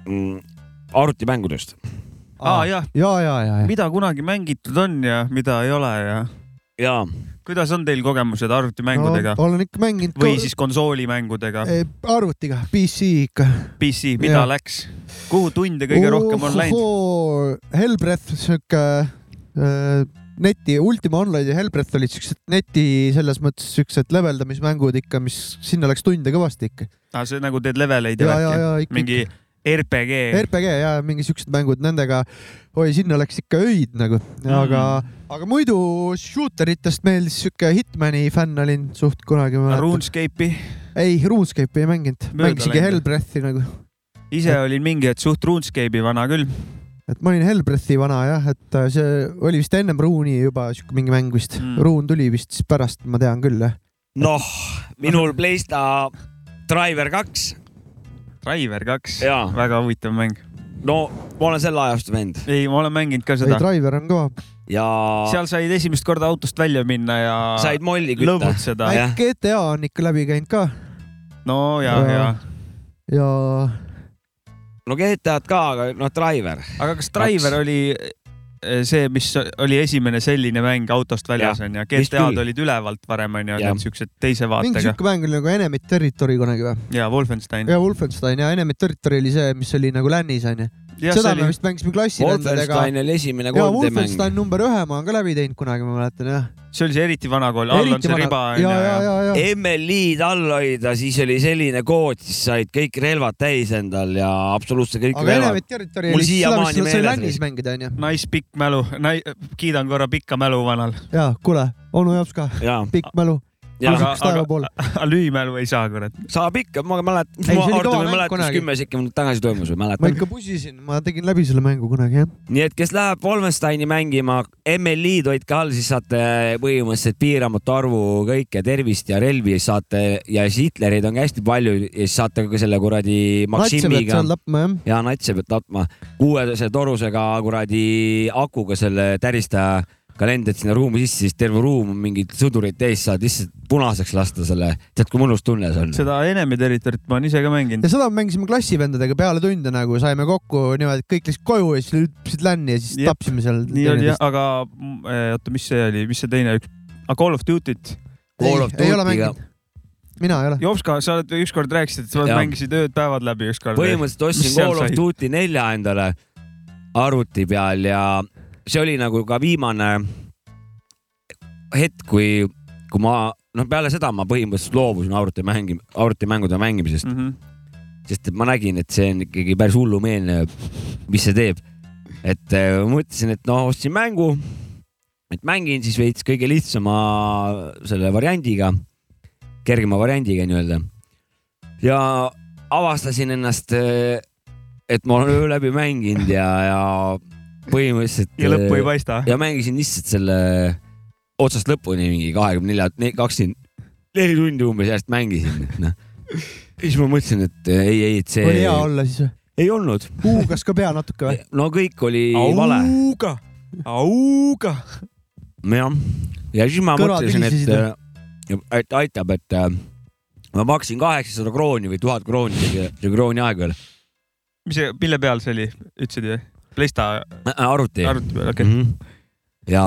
Speaker 4: mm, arvutimängudest .
Speaker 3: aa jah ,
Speaker 2: ja , ja , ja , ja .
Speaker 3: mida kunagi mängitud on ja mida ei ole ja
Speaker 4: jaa ,
Speaker 3: kuidas on teil kogemused arvutimängudega ?
Speaker 2: olen ikka mänginud
Speaker 3: või siis konsoolimängudega ,
Speaker 2: Eh, arvutiga , PC ikka .
Speaker 3: PC , mida
Speaker 2: jah.
Speaker 3: läks , kuhu tunde kõige rohkem on läinud ?
Speaker 2: läinud . Hellbreath , sihuke äh, neti , Ultima Online ja Hellbreath olid siuksed neti selles mõttes siuksed leveldamismängud ikka , mis sinna läks tunde kõvasti ikka .
Speaker 3: aa , see nagu teed leveleid ja
Speaker 2: ja , ja ,
Speaker 3: värki ,
Speaker 2: ja ikka .
Speaker 3: mingi RPG .
Speaker 2: RPG ja mingi siuksed mängud nendega , oi , sinna läks ikka öid nagu , aga mm. , aga muidu shooter itest meeldis siuke Hitmani fänn olin suht kunagi .
Speaker 3: RuneScape'i ,
Speaker 2: ei , RuneScape'i ei mänginud ,
Speaker 3: Mööda
Speaker 2: mängisingi
Speaker 3: läinud.
Speaker 2: Hellbreathi nagu ,
Speaker 3: ise olin mingi hetk suht RuneScape'i vana küll .
Speaker 2: et ma olin Hellbreathi vana jah , et äh, see oli vist ennem Rune'i juba siuke mingi mäng vist
Speaker 3: Mm.
Speaker 2: mm. , Rune tuli vist siis pärast , ma tean küll jah .
Speaker 4: noh , minul Playsta Driver kaks ,
Speaker 3: Driver kaks ,
Speaker 4: Jaa.
Speaker 3: väga huvitav mäng .
Speaker 4: no ma olen selle ajastu vend
Speaker 3: ei , ma olen mänginud ka
Speaker 2: ei ,
Speaker 3: seda .
Speaker 2: Driver on kõva ,
Speaker 4: ja
Speaker 3: seal said esimest korda autost välja minna ja
Speaker 4: said molli kütta .
Speaker 3: lõbutseda .
Speaker 4: jah.
Speaker 2: GTA on ikka läbi käinud ka
Speaker 3: no ja ,
Speaker 2: Jaa.
Speaker 3: ja .
Speaker 2: ja
Speaker 4: no GTA-d ka , aga noh , Driver .
Speaker 3: aga kas Driver oli eh, see , mis oli esimene selline mäng autost väljas onju ,
Speaker 4: vist
Speaker 3: GTA-d
Speaker 4: küll.
Speaker 3: olid ülevalt varem onju ,
Speaker 4: Jah.
Speaker 3: need siuksed teise
Speaker 2: mingi
Speaker 3: vaatega
Speaker 2: siuke mäng oli nagu Enemy Territory kunagi või ?
Speaker 3: ja Wolfenstein .
Speaker 2: ja Wolfenstein ja Enemy Territory oli see , mis oli nagu lännis onju . seda me vist mängisime klassilendadega .
Speaker 4: Wolfenstein oli esimene
Speaker 2: ja
Speaker 4: 3D mäng .
Speaker 2: Wolfenstein number ühe ma olen ka läbi teinud kunagi , ma mäletan jah .
Speaker 3: see oli see eriti vana kool , all on see riba
Speaker 2: ja ,
Speaker 3: onju
Speaker 2: ja , ja , ja ,
Speaker 4: MLi-d all hoida , siis oli selline kood , siis said kõik relvad täis endal ja absoluutselt kõik
Speaker 2: aga
Speaker 4: relvad
Speaker 2: Enemy . Territory
Speaker 4: Mul
Speaker 2: oli seda
Speaker 4: siiamaani
Speaker 2: vist sai
Speaker 4: meeles
Speaker 2: lännis
Speaker 4: oli.
Speaker 2: mängida onju .
Speaker 3: nice pikk mälu , kiidan korra pikka mälu vanal ,
Speaker 2: ja kuule , onu jaoks ka ,
Speaker 4: ja ,
Speaker 2: pikk mälu ,
Speaker 4: ja
Speaker 3: *laughs* Aga-
Speaker 2: kaks taeva poole .
Speaker 3: lüümälu ei saa kurat .
Speaker 4: saab ikka , ma mäletan ,
Speaker 2: Ei, see
Speaker 4: ma
Speaker 2: oli kõva
Speaker 4: Artur
Speaker 2: mäng
Speaker 4: mäletas
Speaker 2: kunagi.
Speaker 4: kümme sekundit tagasi toimus või
Speaker 2: ma
Speaker 4: mäletan .
Speaker 2: ikka pusisin , ma tegin läbi selle mängu kunagi jah .
Speaker 4: nii et kes läheb Wolfensteini mängima , MLi-d hoidke all , siis saate eh, põhimõtteliselt piiramatu arvu kõike tervist ja relvi saate ja siis Hitlereid on ka hästi palju ja siis saate ka selle kuradi
Speaker 2: natse pead
Speaker 4: Maksimiga
Speaker 2: seal tapma jah .
Speaker 4: ja natse pead tapma kuuese torusega kuradi akuga selle täristaja kalendrit sinna ruumi sisse , siis terve ruum on mingeid sõdureid täis , saad lihtsalt punaseks lasta selle , tead kui mõnus tunne see on .
Speaker 3: seda Enemy Territory't ma olen ise ka mänginud .
Speaker 2: ja seda me mängisime klassivendadega peale tunde nagu , saime kokku niimoodi , et kõik läksid koju ja siis hüppasid länni ja siis
Speaker 3: Jep.
Speaker 2: tapsime seal .
Speaker 3: nii oli jah , aga mm, eh, oota , mis see oli , mis see teine üks , Call of Duty't .
Speaker 4: Call of
Speaker 2: ei ole
Speaker 4: Duty'ga
Speaker 2: mänginud . mina ei ole .
Speaker 3: Jopska , sa oled ükskord rääkisid , et sa oled-
Speaker 4: Jaa.
Speaker 3: mängisid ööd-päevad läbi ükskord .
Speaker 4: põhimõtteliselt
Speaker 3: Mis
Speaker 4: ostsin
Speaker 3: seal
Speaker 4: Call of
Speaker 3: sai?
Speaker 4: Duty nelja endale arvuti peal ja see oli nagu ka viimane hetk , kui , kui ma noh , peale seda ma põhimõtteliselt loobusin arvutimängi , arvutimängude mängimisest
Speaker 3: Mhm.
Speaker 4: mm . -hmm. sest et ma nägin , et see on ikkagi päris hullumeelne , mis see teeb . et äh, ma mõtlesin , et noh , ostsin mängu , et mängin siis veits kõige lihtsama selle variandiga , kergema variandiga nii-öelda . ja avastasin ennast , et ma olen öö läbi mänginud ja , ja põhimõtteliselt .
Speaker 3: Ja lõppu ei paista.
Speaker 4: ja mängisin lihtsalt selle otsast lõpuni mingi kahekümne nelja , kakskümmend neli tundi umbes järjest mängisin , noh . siis ma mõtlesin , et äh, ei , ei , et see .
Speaker 2: oli hea olla siis või ?
Speaker 4: ei olnud .
Speaker 2: huugas ka pea natuke või ?
Speaker 4: no kõik oli vale .
Speaker 3: auga , auga .
Speaker 4: jah , ja siis ma
Speaker 2: Kõrvad
Speaker 4: mõtlesin ,
Speaker 2: vilisesid
Speaker 4: et , et aitab , et äh, ma maksin kaheksasada krooni või tuhat krooni , see krooni aeg veel ,
Speaker 3: mis see , mille peal see oli , ütlesid ju ? Plesta
Speaker 4: Äh, arvuti .
Speaker 3: arvuti peal , okei okay. .
Speaker 4: ja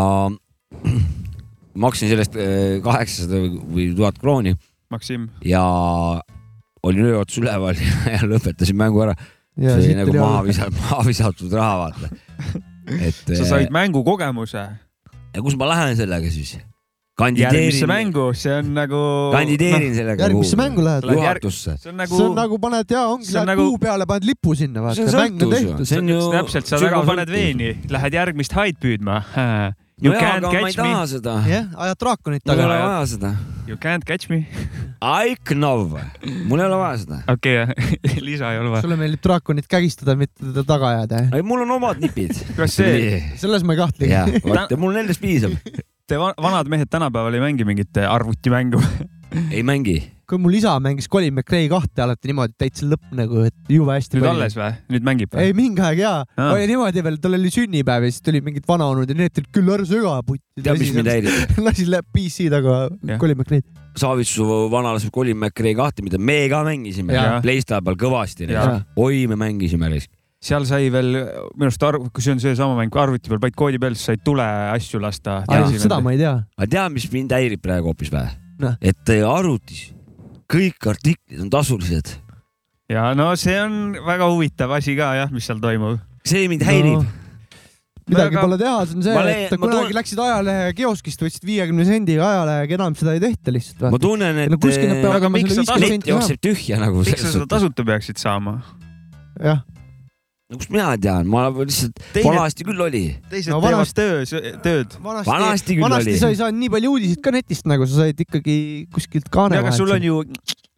Speaker 4: *clears throat* maksin sellest äh, kaheksasada või tuhat krooni
Speaker 3: Maksim ,
Speaker 4: ja olin öö otsa üleval *laughs* ja lõpetasin mängu ära . see
Speaker 2: Ja
Speaker 4: oli
Speaker 2: siit
Speaker 4: nagu
Speaker 2: tuli
Speaker 4: maha
Speaker 2: arve.
Speaker 4: visatud , maha visatud raha ,
Speaker 2: *laughs*
Speaker 4: vaata . et äh,
Speaker 3: sa said mängukogemuse .
Speaker 4: ja kus ma lähen sellega siis ?
Speaker 3: järgmisse
Speaker 4: kandideerin ,
Speaker 3: mängu , see on nagu .
Speaker 4: kandideerin sellega .
Speaker 2: Noh, järgmisse mängu lähed või ?
Speaker 4: juhatusse .
Speaker 3: see
Speaker 2: see on
Speaker 3: on nagu ,
Speaker 2: nagu paned ja ongi ,
Speaker 3: see on
Speaker 2: lähed
Speaker 3: nagu-
Speaker 2: kuu peale , paned lipu sinna ,
Speaker 4: see on .
Speaker 2: vaata mäng on
Speaker 4: sõltuvus ju ,
Speaker 2: tehtud .
Speaker 4: see on ju .
Speaker 3: täpselt , sa väga paned veeni , lähed järgmist haid püüdma . *laughs* You
Speaker 4: no jaa ,
Speaker 3: can't
Speaker 4: aga ma ei
Speaker 3: catch me ,
Speaker 4: taha seda .
Speaker 2: jah , ajad draakonit
Speaker 4: mul ei
Speaker 2: taga .
Speaker 4: ole vaja seda .
Speaker 3: you can't catch me .
Speaker 4: I know , mul ei ole vaja seda .
Speaker 3: okei , *laughs* lisa ei ole vaja .
Speaker 2: sulle meeldib draakonit kägistada , mitte teda taga ajada , jah ?
Speaker 4: ei , mul on omad nipid .
Speaker 3: Kas see- ?
Speaker 2: selles ma ei kahtlegi
Speaker 4: jah . , vaata mul nendest piisab .
Speaker 3: Te va- vanad mehed tänapäeval ei mängi mingit äh, arvutimängu .
Speaker 4: ei mängi .
Speaker 2: kui mul isa mängis Colin McRae kahte alati niimoodi täitsa lõpp nagu , et jube hästi
Speaker 3: nüüd . alles või ? nüüd mängib või ?
Speaker 2: ei , mingi aeg jaa
Speaker 3: Aa.
Speaker 2: ah. , oli niimoodi veel , tal oli sünnipäev ja siis tulid mingid vanaonud ja need tulid küll ära söga putti .
Speaker 4: tead , mis mind ? häirib ?
Speaker 2: *laughs* lasi läheb PC taga
Speaker 3: Jah.
Speaker 2: kolima neid .
Speaker 4: Saavitsu vanalased Colin McRae kahte , mida me ka mängisime
Speaker 3: Jaa.
Speaker 4: PlayStation peal kõvasti .
Speaker 3: Jaa.
Speaker 4: oi , me mängisime risk .
Speaker 3: seal sai veel minu arust arv , kui see on seesama mäng , kui arvuti peal panid koodi peal , siis said tule asju lasta .
Speaker 2: seda ma ei tea .
Speaker 4: aga tead , mis mind häirib praegu hoopis või
Speaker 2: Noh. ?
Speaker 4: et äh, arvutis kõik artiklid on tasulised .
Speaker 3: ja no see on väga huvitav asi ka jah , mis seal toimub .
Speaker 4: see mind häirib no. .
Speaker 2: midagi
Speaker 3: Väga-
Speaker 2: pole teha , see on see
Speaker 4: Ma , leian-
Speaker 2: et
Speaker 4: ma
Speaker 2: kunagi
Speaker 4: tunnen-
Speaker 2: läksid ajalehe kioskist , võtsid viiekümne sendiga ajalehega , enam seda ei tehta lihtsalt
Speaker 4: ma
Speaker 2: vaata .
Speaker 4: tunnen , et
Speaker 2: no kuskil nad
Speaker 4: äh,
Speaker 2: peavad
Speaker 3: aga
Speaker 2: andma
Speaker 3: miks
Speaker 2: selle
Speaker 3: sa
Speaker 2: viiskümmend
Speaker 4: lett
Speaker 2: senti vähem .
Speaker 4: jookseb tühja nagu .
Speaker 3: miks sa seda tasuta peaksid saama ?
Speaker 2: jah ,
Speaker 4: no kust mina tean , ma lihtsalt ,
Speaker 3: Teine-
Speaker 4: vanasti küll oli .
Speaker 3: teised
Speaker 2: No
Speaker 3: no, teevad töös , tööd .
Speaker 2: vanasti,
Speaker 4: Vanasti küll
Speaker 2: vanasti
Speaker 4: oli.
Speaker 2: sa ei saanud nii palju uudiseid ka netist , nagu sa said ikkagi kuskilt kaane
Speaker 3: aga sul on ju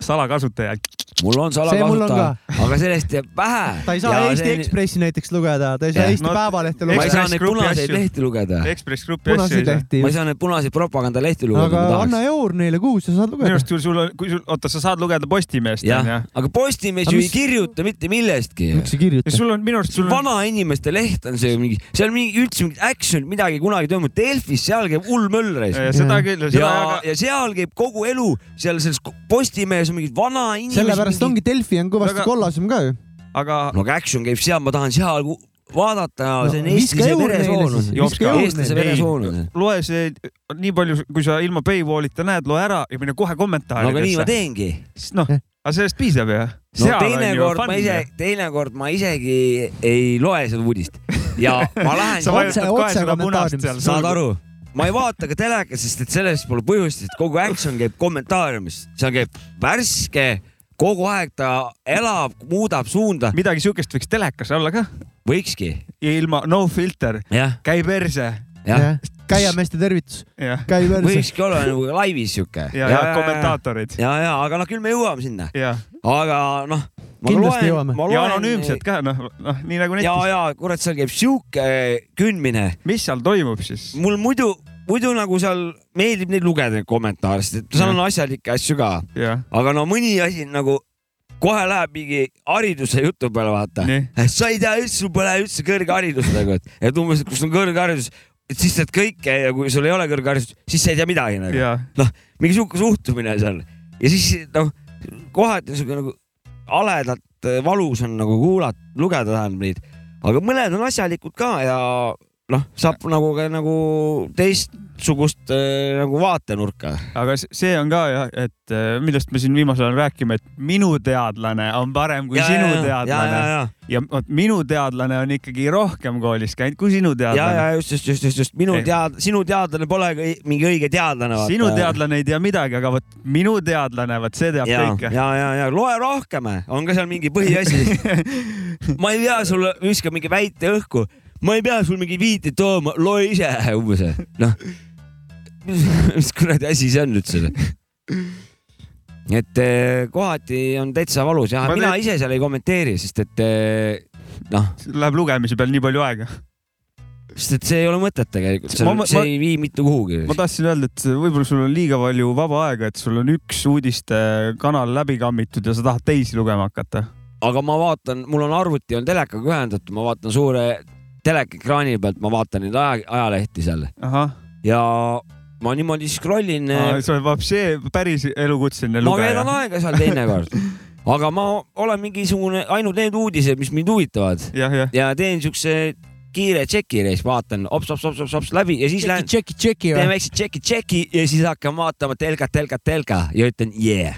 Speaker 3: salakasutaja .
Speaker 4: mul on
Speaker 2: See mul on
Speaker 4: salakasutaja , aga sellest jääb vähe .
Speaker 2: ta ei saa Eesti see... . Ekspressi näiteks lugeda , ta ei saa
Speaker 3: Jah.
Speaker 2: Eesti
Speaker 3: No,
Speaker 2: no, Päevalehte
Speaker 4: ma ei
Speaker 2: lugeda ,
Speaker 4: saa
Speaker 3: Ekspress
Speaker 4: neid
Speaker 3: Grupi
Speaker 4: punaseid
Speaker 3: asju.
Speaker 4: lehti lugeda .
Speaker 3: Ekspress Grupi asju ei
Speaker 2: punaseid
Speaker 3: saa .
Speaker 2: lehti
Speaker 4: ma ei . saa neid punaseid propagandalehti
Speaker 2: aga
Speaker 4: lugeda , kui
Speaker 2: anna
Speaker 4: tahaks .
Speaker 2: eur neile kuus ja saad
Speaker 3: minu
Speaker 2: lugeda
Speaker 3: arust . kui sul on , kui sul , oota , sa saad lugeda Postimeest onju .
Speaker 4: jah , aga Postimees
Speaker 2: Aga
Speaker 4: ju ei
Speaker 2: mis-
Speaker 4: kirjuta mitte millestki .
Speaker 2: miks ei
Speaker 3: ja
Speaker 2: kirjuta ?
Speaker 3: sul on minu arust , sul on ,
Speaker 4: vanainimeste leht on see mingi , seal mingi üldse mingit action , midagi kunagi ei toimunud . Delfis , seal käib hull möll reis .
Speaker 3: seda küll , seda
Speaker 4: ja ,
Speaker 3: aga
Speaker 4: ja seal käib kogu elu , seal selles Postimehes on mingid vanainimesed .
Speaker 2: sellepärast ongi Delfi on kõvasti
Speaker 3: Väga-
Speaker 2: väga... kollasem ka ju .
Speaker 3: aga
Speaker 4: no aga action käib seal , ma tahan seal ku- vaadata no, , see on
Speaker 2: *laughs* No viska
Speaker 4: eestlase
Speaker 2: eur neile
Speaker 4: veresoonus
Speaker 2: siis, .
Speaker 3: viska eur
Speaker 4: eestlase
Speaker 3: neile.
Speaker 4: veresoonus .
Speaker 3: loe see nii palju , kui sa ilma paywall'ita näed , loe ära ja mine
Speaker 4: no aga nii
Speaker 3: kohe
Speaker 4: ma
Speaker 3: kommentaaridesse .
Speaker 4: teengi .
Speaker 3: noh , aga sellest piisab ju .
Speaker 4: no teinekord ma ise , teinekord ma isegi ei loe seda uudist ja
Speaker 3: *laughs*
Speaker 4: ma
Speaker 3: sa
Speaker 4: lähen ,
Speaker 2: vajutad
Speaker 3: vajutad
Speaker 2: kohe
Speaker 3: kohe
Speaker 2: seda
Speaker 3: seda
Speaker 2: punast
Speaker 3: punast seal .
Speaker 4: saad ? aru , ma ei vaata ka telekat , sest et sellest pole põhjust , et kogu action käib kommentaariumis , seal käib värske , kogu aeg ta elab , muudab suunda ,
Speaker 3: midagi siukest võiks *laughs* telekas olla ka .
Speaker 4: võikski ,
Speaker 3: ilma no filter ,
Speaker 4: jah ,
Speaker 3: käi perse .
Speaker 4: jah ,
Speaker 2: käiameeste tervitus ,
Speaker 3: jah ,
Speaker 2: käi verse .
Speaker 4: võikski olla nagu laivis siuke .
Speaker 3: ja , ja kommentaatorid .
Speaker 4: ja , ja , aga noh , küll me jõuame sinna ,
Speaker 3: ja ,
Speaker 4: aga noh .
Speaker 2: Kindlasti jõuame.
Speaker 3: ja anonüümsed ka , noh , noh , nii
Speaker 4: ja ,
Speaker 3: nagu netis .
Speaker 4: ja kurat , seal käib siuke kündmine ,
Speaker 3: mis seal toimub siis ?
Speaker 4: mul muidu , muidu nagu seal meeldib neid lugeda neid kommentaare , sest et seal on asjalikke asju ka ,
Speaker 3: jah ,
Speaker 4: aga no mõni asi on nagu kohe läheb mingi hariduse jutu peale , vaata Eh,
Speaker 3: Nii. .
Speaker 4: sa ei tea üldse , sul pole üldse kõrgharidust nagu , et , et umbes , et kus on kõrgharidus , et siis tead kõike ja kui sul ei ole kõrgharidust , siis sa ei tea midagi nagu .
Speaker 3: ja ,
Speaker 4: noh , mingi sihuke suhtumine seal ja siis noh , kohati on sihuke nagu eh, haledalt äh, valus on nagu kuulata , lugeda tähendab neid , aga mõned on asjalikud ka ja noh , saab nagu ka nagu teistsugust eh, nagu vaatenurka .
Speaker 3: aga s- see on ka jah , et eh, millest me siin viimasel ajal räägime , et minu teadlane on parem kui
Speaker 4: Ja,
Speaker 3: ja, sinu
Speaker 4: ja, ja,
Speaker 3: teadlane
Speaker 4: ja, ja, ja.
Speaker 3: ja vot minu teadlane on ikkagi rohkem koolis käinud kui sinu
Speaker 4: ja , ja
Speaker 3: teadlane .
Speaker 4: just , just , just , just , just minu
Speaker 3: Ei.
Speaker 4: tead- , sinu teadlane pole ka õi- mingi õige
Speaker 3: *laughs*
Speaker 4: teadlane .
Speaker 3: sinu . teadlane ei tea midagi , aga vot minu teadlane , vot see teab
Speaker 4: ja ,
Speaker 3: kõike .
Speaker 4: ja , ja , ja loe rohkem , on ka seal mingi põhiasi . ma ei pea sulle , viska mingi väite õhku , ma ei pea sul mingi viiteid tooma , loe ise umbes , noh . mis kuradi asi see on üldse ? et eh, kohati on täitsa valus ja
Speaker 3: Ma
Speaker 4: mina
Speaker 3: teed-
Speaker 4: ise seal ei kommenteeri , sest et eh, noh ,
Speaker 3: Läheb lugemise peal nii palju aega .
Speaker 4: sest et see ei ole mõtet tegelikult , see,
Speaker 3: Ma-
Speaker 4: on-
Speaker 3: ma-
Speaker 4: see ei vii mitte kuhugi .
Speaker 3: *laughs* ma tahtsin öelda , et võib-olla sul on liiga palju vaba aega , et sul on üks uudistekanal läbi kammitud ja sa tahad teisi lugema hakata .
Speaker 4: aga ma vaatan , mul on arvuti on telekaga ühendatud , ma vaatan suure telekaekraani pealt , ma vaatan neid aja , ajalehti seal
Speaker 3: ahah ,
Speaker 4: ja ma niimoodi scroll in ,
Speaker 3: sa oled vapsee päris elukutseline
Speaker 4: ma veedan
Speaker 3: lugeja .
Speaker 4: aega seal teinekord , aga ma olen mingisugune , ainult need uudised , mis mind huvitavad
Speaker 3: jah , jah .
Speaker 4: ja teen siukse kiire tšeki reis , vaatan hops-hops-hops-hops läbi ja siis lähen ,
Speaker 2: tšeki , tšeki
Speaker 4: teen
Speaker 2: või ?
Speaker 4: väikse tšeki-tšeki ja siis hakkan vaatama telkat , telkat , telka ja ütlen yeah .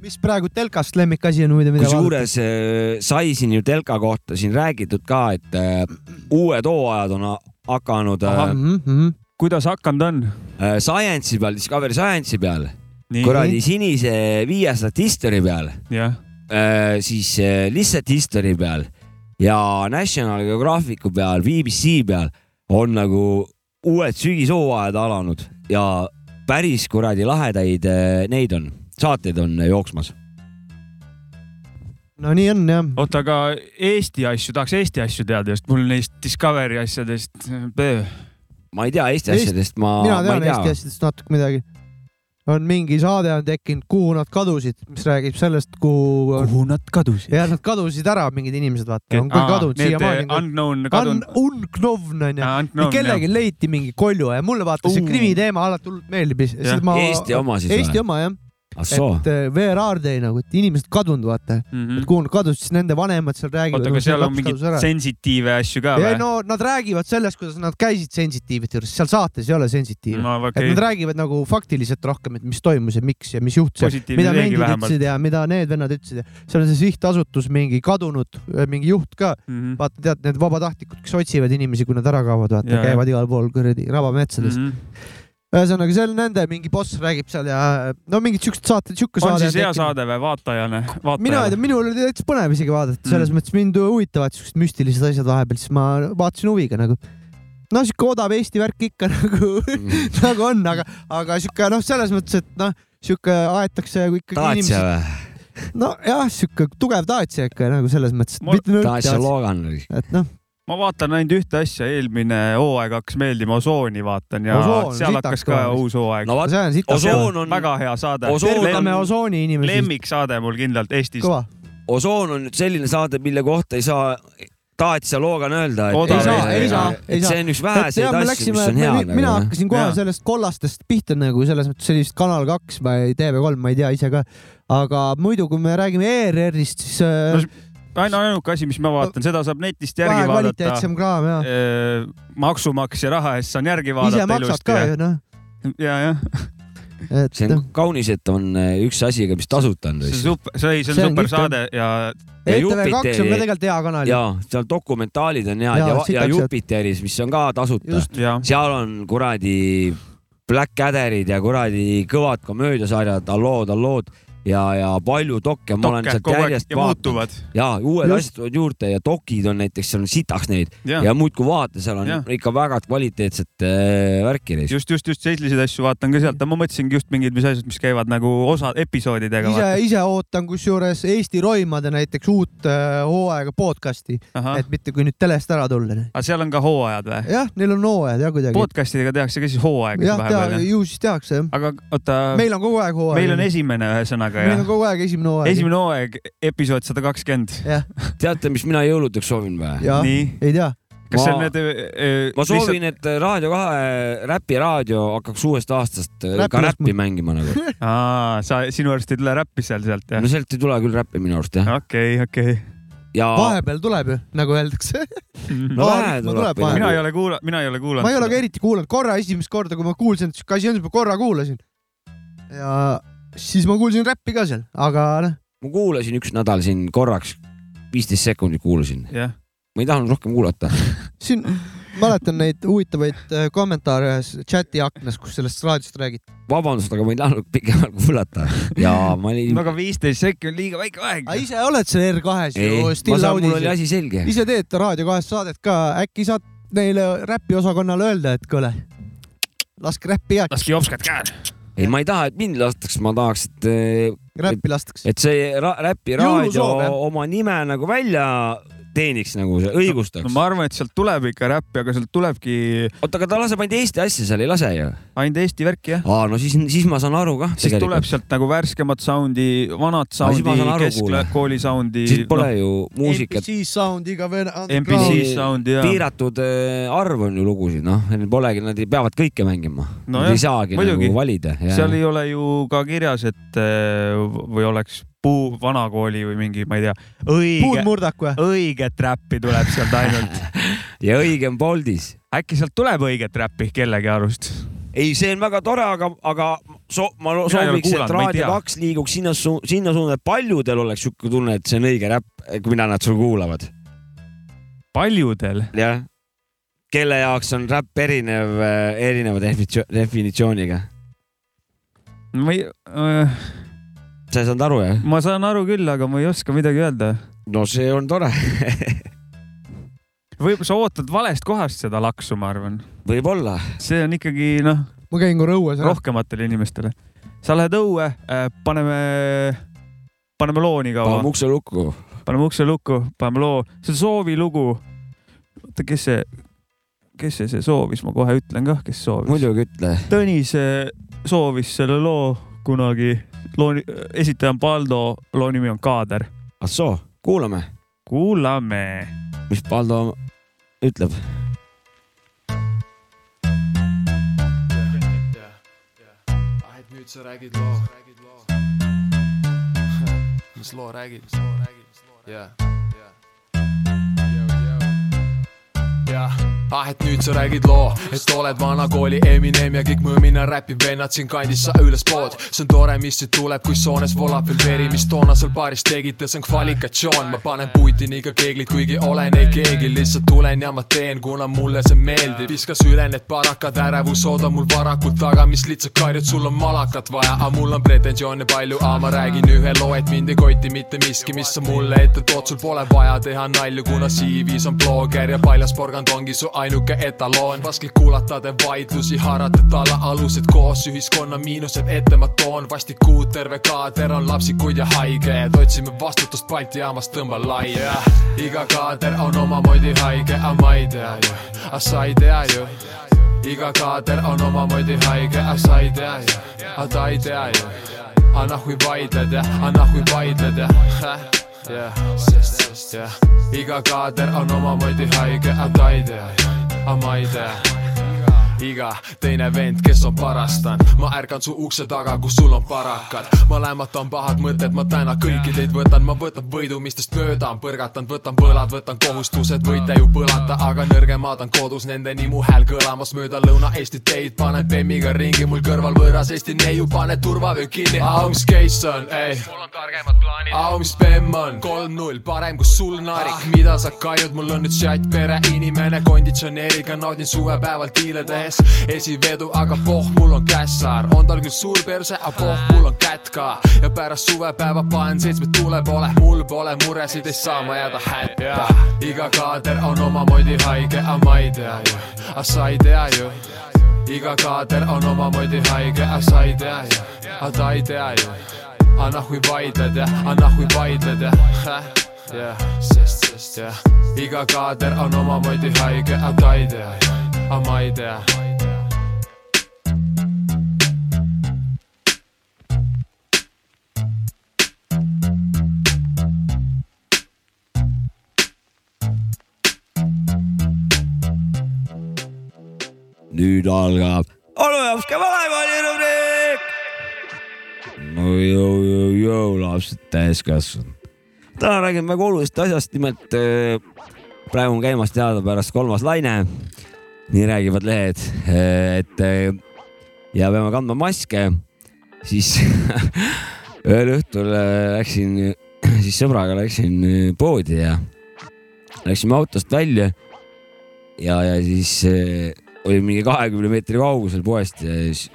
Speaker 2: mis praegu telkast lemmikasi on muide , mida vaadata ?
Speaker 4: kusjuures äh, sai siin ju telka kohta siin räägitud ka , et äh, uued hooajad on ha- hakanud äh,
Speaker 2: mm.
Speaker 3: kuidas hakanud on ?
Speaker 4: äh, Science'i peal , Discovery Science'i peal ,
Speaker 3: Nii.
Speaker 4: kuradi sinise viiesadat history peal ,
Speaker 3: *laughs* jah ,
Speaker 4: siis äh, lihtsalt history peal ja National Geographicu peal , BBC peal on nagu uued sügishooajad alanud ja päris kuradi lahedaid äh, neid on , saateid on äh, jooksmas .
Speaker 2: no nii on jah .
Speaker 3: oota , aga Eesti asju , tahaks Eesti asju teada , sest mul neist Discovery asjadest ,
Speaker 4: ma ei tea Eesti
Speaker 2: Eest-
Speaker 4: asjadest , ma ,
Speaker 2: mina
Speaker 4: ma
Speaker 2: tean
Speaker 4: ei tea
Speaker 2: Eesti asjadest natuke midagi . on mingi saade on tekkinud , kuhu nad kadusid , mis räägib sellest , kuhu on... ,
Speaker 3: kuhu nad kadusid ?
Speaker 2: jah , nad kadusid ära , mingid inimesed vaata , on ka kadunud
Speaker 3: äh,
Speaker 2: siiamaani .
Speaker 3: eh, Unknown
Speaker 2: on
Speaker 3: kadunud .
Speaker 2: unknown onju . kellelgi leiti mingi kolju ja mulle vaata see
Speaker 3: Uu.
Speaker 2: krimiteema alati hullult meeldib .
Speaker 3: Jah.
Speaker 4: Eesti oma siis või? Ah,
Speaker 2: Eesti oma jah ,
Speaker 4: Assoo
Speaker 2: et eh, VRR tõi nagu , et inimesed kadunud vaata , et
Speaker 3: oota ,
Speaker 2: kuhu nad kadusid , siis nende vanemad seal räägivad .
Speaker 3: Mhm. aga seal on mingeid sensitiive asju ka
Speaker 2: ei
Speaker 3: või ?
Speaker 2: no nad räägivad sellest , kuidas nad käisid sensitiivide juures , seal saates ei ole sensitiive no, .
Speaker 3: no
Speaker 2: Okay. et
Speaker 3: okei
Speaker 2: nad , räägivad nagu faktiliselt rohkem , et mis toimus ja miks ja mis juhtus ja
Speaker 3: positiivne
Speaker 2: mida
Speaker 3: leegi
Speaker 2: mendid
Speaker 3: vähemalt .
Speaker 2: ütlesid ja mida need vennad ütlesid ja seal on see sihtasutus mingi kadunud , mingi juht ka .
Speaker 3: Mhm.
Speaker 2: vaata , tead need vabatahtlikud , kes otsivad inimesi , kui nad ära kaovad , vaata
Speaker 3: Jaa, Mhm.
Speaker 2: ja, käivad igal pool kuradi rabametsades mm .
Speaker 3: on
Speaker 2: -hmm. ühesõnaga , seal nende mingi boss räägib seal ja no mingid siuksed saated , siuke saade .
Speaker 3: siis hea saade või , vaatajale ,
Speaker 2: mina ei tea ,
Speaker 3: vaatajale ?
Speaker 2: minul oli täitsa põnev isegi vaadata , selles
Speaker 3: Mm.
Speaker 2: mm. mõttes mind huvitavad siuksed müstilised asjad vahepeal , siis ma vaatasin huviga nagu . no siuke odav Eesti värk ikka *laughs* nagu , nagu on , aga , aga siuke noh , selles mõttes , et noh , siuke aetakse nagu ikkagi
Speaker 4: Dacia
Speaker 2: inimesed ,
Speaker 4: või ?
Speaker 2: nojah , siuke tugev Dacia ikka nagu selles mõttes , et
Speaker 3: Mul-
Speaker 2: mitte nõrk
Speaker 4: Dacia
Speaker 2: Dacia ,
Speaker 4: Logan oli .
Speaker 2: et noh ,
Speaker 3: ma vaatan ainult ühte asja , eelmine hooaeg hakkas meeldima , Osooni vaatan ja
Speaker 2: Osoon, sitaks
Speaker 3: seal hakkas ka
Speaker 2: kõva mees.
Speaker 3: uus hooaeg
Speaker 4: no . vaat ,
Speaker 2: see on siit .
Speaker 4: osoon on ,
Speaker 3: väga hea saade .
Speaker 4: Osoon-
Speaker 2: tervitame osooni inimesi ,
Speaker 3: lemmiksaade mul kindlalt Eestis .
Speaker 2: kõva .
Speaker 4: osoon on nüüd selline saade , mille kohta ei saa Dacia Logan öelda .
Speaker 3: Odav
Speaker 2: ei saa, ei saa, ei saa.
Speaker 4: see on üks väheseid asju , mis on hea nagu,
Speaker 2: me, . mina hakkasin kohe
Speaker 3: Jaa.
Speaker 2: sellest kollastest pihta nagu selles mõttes sellist Kanal kaks või TV3 ma ei tea ise ka , aga muidu , kui me räägime ERR-ist , siis äh,
Speaker 3: No ainuainuke asi , mis ma vaatan , seda saab netist järgi
Speaker 2: vähe
Speaker 3: vaadata .
Speaker 2: kvaliteetsem kraam ja
Speaker 3: maksumaksja raha eest saan järgi
Speaker 2: ise
Speaker 3: vaadata
Speaker 2: maksad ka ju noh ,
Speaker 3: ja , jah ,
Speaker 2: et
Speaker 4: see on kaunis , et on äh, üks asi , mis tasuta on
Speaker 3: see on
Speaker 4: tõesti .
Speaker 3: super , see oli , see
Speaker 2: See on
Speaker 3: on
Speaker 2: E
Speaker 3: super
Speaker 2: kihvt,
Speaker 3: saade ja
Speaker 4: ja
Speaker 2: ETV2 on ka
Speaker 4: Jupiteri-
Speaker 2: tegelikult hea kanal ,
Speaker 4: ja seal dokumentaalid on head
Speaker 2: Jaa,
Speaker 4: ja, ja, ja
Speaker 2: sitaks, et-
Speaker 4: Jupiteris , mis on ka tasuta .
Speaker 2: Just.
Speaker 3: ja
Speaker 4: seal on kuradi Blackadderid ja kuradi kõvad komöödiasarjad , Allood , Allood ja , ja palju dokke , ma olen
Speaker 3: dokke
Speaker 4: sealt
Speaker 3: kogu aeg
Speaker 4: järjest
Speaker 3: ja
Speaker 4: vaadanud .
Speaker 3: muutuvad .
Speaker 4: ja uued
Speaker 2: Just.
Speaker 4: asjad tulevad juurde ja dokid on näiteks , seal on sitaks neid ja,
Speaker 3: ja
Speaker 4: ja muudkui vaata , seal on ja.
Speaker 3: Jah.
Speaker 4: ikka väga kvaliteetset äh, värki neis .
Speaker 3: just , just , just selliseid asju vaatan ka sealt , ma mõtlesingi just mingeid , mis asjad , mis käivad nagu osa episoodidega .
Speaker 2: ise , ise ootan kusjuures Eesti roimade näiteks uut äh, hooaega podcast'i ,
Speaker 3: aga
Speaker 2: et mitte kui nüüd telest ära tulla . noh.
Speaker 3: seal on ka hooajad või ?
Speaker 2: jah , neil on hooajad ja kuidagi .
Speaker 3: podcastidega tehakse ka siis hooaegasid
Speaker 2: jah ,
Speaker 3: vahepeal jah ?
Speaker 2: ju siis tehakse jah .
Speaker 3: aga oota ,
Speaker 2: meil on kogu aeg hooaeg .
Speaker 3: meil on esimene ühesõnaga
Speaker 2: meil on
Speaker 3: jah ?
Speaker 2: kogu aeg esimene hooaeg .
Speaker 3: esimene hooaeg , episood sada kakskümmend .
Speaker 2: jah ,
Speaker 4: teate , mis mina jõuludeks soovin või ?
Speaker 2: ja
Speaker 3: nii ,
Speaker 2: ei tea .
Speaker 3: kas see on
Speaker 4: Ma-
Speaker 3: need ?
Speaker 4: ma soovin , et äh, Raadio kahe räpiraadio hakkaks uuest aastast äh,
Speaker 2: Räpi
Speaker 4: ka
Speaker 2: laskma.
Speaker 4: räppi mängima nagu .
Speaker 2: *laughs*
Speaker 3: aa , sa , sinu arust ei tule räppi seal sealt jah
Speaker 4: no ? sealt ei tule küll räppi minu arust jah .
Speaker 3: okei , okei .
Speaker 4: ja
Speaker 3: *laughs*
Speaker 2: vahepeal tuleb ju , nagu öeldakse .
Speaker 4: no vähe tuleb .
Speaker 3: Mhm. mina ei ole kuula- , mina ei ole kuulanud .
Speaker 2: ma ei ole ka eriti kuulanud , korra esimest korda , kui ma kuulsin , et siuke asi on , siis ma korra kuulasin . ja siis ma kuulsin räppi ka seal , aga noh ,
Speaker 4: ma kuulasin üks nädal siin korraks , viisteist sekundit kuulasin .
Speaker 3: jah ,
Speaker 4: ma ei tahtnud rohkem
Speaker 3: *laughs*
Speaker 4: kuulata .
Speaker 2: siin mäletan neid huvitavaid äh, kommentaare ühes chati aknas , kus sellest raadiost räägiti .
Speaker 4: vabandust , aga ma ei tahtnud pikemalt kuulata ja ma olin .
Speaker 3: aga viisteist sekki on liiga väike aeg
Speaker 2: aga . ise oled seal R2-s
Speaker 4: Ei,
Speaker 2: ju ,
Speaker 4: ma
Speaker 2: Still
Speaker 4: saan- mul oli
Speaker 2: Audis
Speaker 4: asi . selge .
Speaker 2: ise teed Raadio kahest saadet ka , äkki saad neile räpiosakonnale öelda , et kuule , laske räppi heaks ,
Speaker 3: laske jopskad käed .
Speaker 4: ei , ma ei taha , et mind lastaks , ma tahaks , et , et,
Speaker 2: räppi lastakse .
Speaker 4: et see ra- räpiraadio
Speaker 2: Jõulusoov, jah?
Speaker 4: oma nime nagu välja teeniks nagu ,
Speaker 3: no
Speaker 4: õigustaks .
Speaker 3: ma arvan , et sealt tuleb ikka räppi , aga sealt tulebki
Speaker 4: oota , aga ta laseb ainult Eesti asja seal , ei lase ju ?
Speaker 3: ainult Eesti värki jah .
Speaker 4: aa , no siis , siis ma saan aru kah .
Speaker 3: siis tuleb sealt nagu värskemat sound'i , vanat
Speaker 4: Aga siis ma
Speaker 3: sound'i
Speaker 4: saan , aru,
Speaker 3: keskkooli sound'i .
Speaker 4: siis pole ju muusikat .
Speaker 2: NPC Sound iga vene .
Speaker 3: NPC sound'i ja .
Speaker 4: piiratud äh, arv on ju lugusid , noh , neil polegi , nad ei- peavad kõike mängima no .
Speaker 3: No
Speaker 4: Nad
Speaker 3: jah,
Speaker 4: ei saagi
Speaker 3: muidugi.
Speaker 4: nagu valida .
Speaker 3: seal ei ole ju ka kirjas , et äh, või oleks puu , vanakooli või mingi , ma ei tea ,
Speaker 2: puud
Speaker 3: õige ,
Speaker 2: murdak või ?
Speaker 3: õiget räppi tuleb sealt
Speaker 4: *laughs*
Speaker 3: ainult .
Speaker 4: ja õige on Boltis .
Speaker 3: äkki sealt tuleb õiget räppi kellegi arust ?
Speaker 4: ei , see on väga tore , aga , aga so, ma lo-
Speaker 3: Mina ei ole
Speaker 4: sooviks ,
Speaker 3: kuulanud,
Speaker 4: et
Speaker 3: ma ei
Speaker 4: Raadio
Speaker 3: tea.
Speaker 4: kaks liiguks sinna su- , sinna suunda , et paljudel oleks sihuke tunne , et see on õige räpp , mida nad sul kuulavad .
Speaker 3: paljudel ?
Speaker 4: jah . kelle jaoks on räpp erinev , erineva definitsio- definitsiooniga .
Speaker 3: ma ei äh, ,
Speaker 4: sa ei saanud aru , jah ?
Speaker 3: ma saan aru küll , aga ma ei oska midagi öelda .
Speaker 4: no see on
Speaker 3: *laughs*
Speaker 4: tore .
Speaker 3: võib-olla sa ootad valest kohast seda laksu , ma arvan .
Speaker 4: võib-olla .
Speaker 3: see on ikkagi noh ,
Speaker 2: ma käin korra õues ära .
Speaker 3: rohkematele inimestele . sa lähed õue äh, , paneme , paneme loo nii kaua
Speaker 4: paneme , ukse lukku .
Speaker 3: paneme ukse lukku , paneme loo , see on soovi lugu . oota , kes see , kes see , see soovis , ma kohe ütlen kah , kes soovis .
Speaker 4: muidugi ütle .
Speaker 3: Tõnis äh, soovis selle loo kunagi , loo , esitaja on Paldo , loo nimi on Kaader .
Speaker 4: ah soo , kuulame ,
Speaker 3: kuulame
Speaker 4: mis Paldo ütleb .
Speaker 12: uh, ahet nüüd sa räägid loo . *laughs* mis loo räägib ? jah , jah . ah , et nüüd sa räägid loo , et oled vana kooli Eminem ja kõik mõmina räpib vennad siinkandis sa ülespood . see on tore , mis siit tuleb , kui soones voolab veel veri , mis toona seal baaris tegite , see on kvalifikatsioon . ma panen Putiniga keeglid , kuigi olen ei keegi , lihtsalt tulen ja ma teen , kuna mulle see meeldib . viskas üle need parakad , ärevus ooda mul varakult taga , mis lihtsalt karjud , sul on malakat vaja , aga mul on pretensioone palju , aga ma räägin ühe loo , et mind ei koti mitte miski , mis sa mulle ette tood , sul pole vaja teha nalju , kuna CV-s on blogger ja paljas porgand ongi su ainuke etaloon . raske kuulata te vaidlusi , haarata tala alused koos , ühiskonna miinused ette ma toon , vastikuud terve kaader on lapsikud ja haiged , otsime vastutust Balti jaamas , tõmba laia yeah. . iga kaader on omamoodi haige , aga ma ei tea ju , aga sa ei tea ju iga kaader on omamoodi haige , aga sa ei tea ju , aga ta ei tea ju . aga nahui vaidled ja , aga nahui vaidled ja , jah , sest , sest jah , iga kaader on omamoodi haige , aga ta ei tea ju , aga ma ei tea iga teine vend , kes on parastanud , ma ärkan su ukse taga , kus sul on parakad . ma lämmatan pahad mõtted , ma täna kõiki teid võtan , ma võtan võidu , mis teist mööda on , põrgatan , võtan võlad , võtan kohustused , võite ju põlata , aga nõrgemad on kodus , nendeni mu hääl kõlamas mööda Lõuna-Eesti teid , panen bemmiga ringi , mul kõrval võõras Eesti neiu , pane turvavöö kinni , au mis case on , ei . mul on targemad plaanid . au mis bemm on , kolm-null , parem kui sul naarik , mida sa kaiud , mul on nüüd chat , pere , inimene , konditsioneeriga naudin suvepäeval diile tehes esivedu , aga poh , mul on kässaar , on tal küll suur perse , aga poh , mul on kätt ka ja pärast suvepäeva panen seitsme tuule poole , mul pole muresid , ei saa ma jääda hätta . iga kaader on omamoodi haige , aga ma ei tea ju , aga sa ei tea ju iga kaader on omamoodi haige , aga sa ei tea ju , aga ta ei tea ju . aga nahui vaidled ja , aga nahui vaidled ja , jah , sest , sest jah , iga kaader on omamoodi haige , aga ta ei tea ju , aga ma ei tea .
Speaker 4: nüüd algab olujapske vanakooli rubriik . no jõu , jõu , jõu , lapsed täiskasvanud . täna räägime väga olulisest asjast , nimelt äh, praegu on käimas teadupärast kolmas laine . nii räägivad lehed , et eh, ja peame kandma maske , siis *laughs* ühel õhtul eh, läksin , *clears throat* siis sõbraga läksin äh, poodi ja läksime autost välja ja , ja siis äh, oli mingi kahekümne meetri kaugusel poest ja siis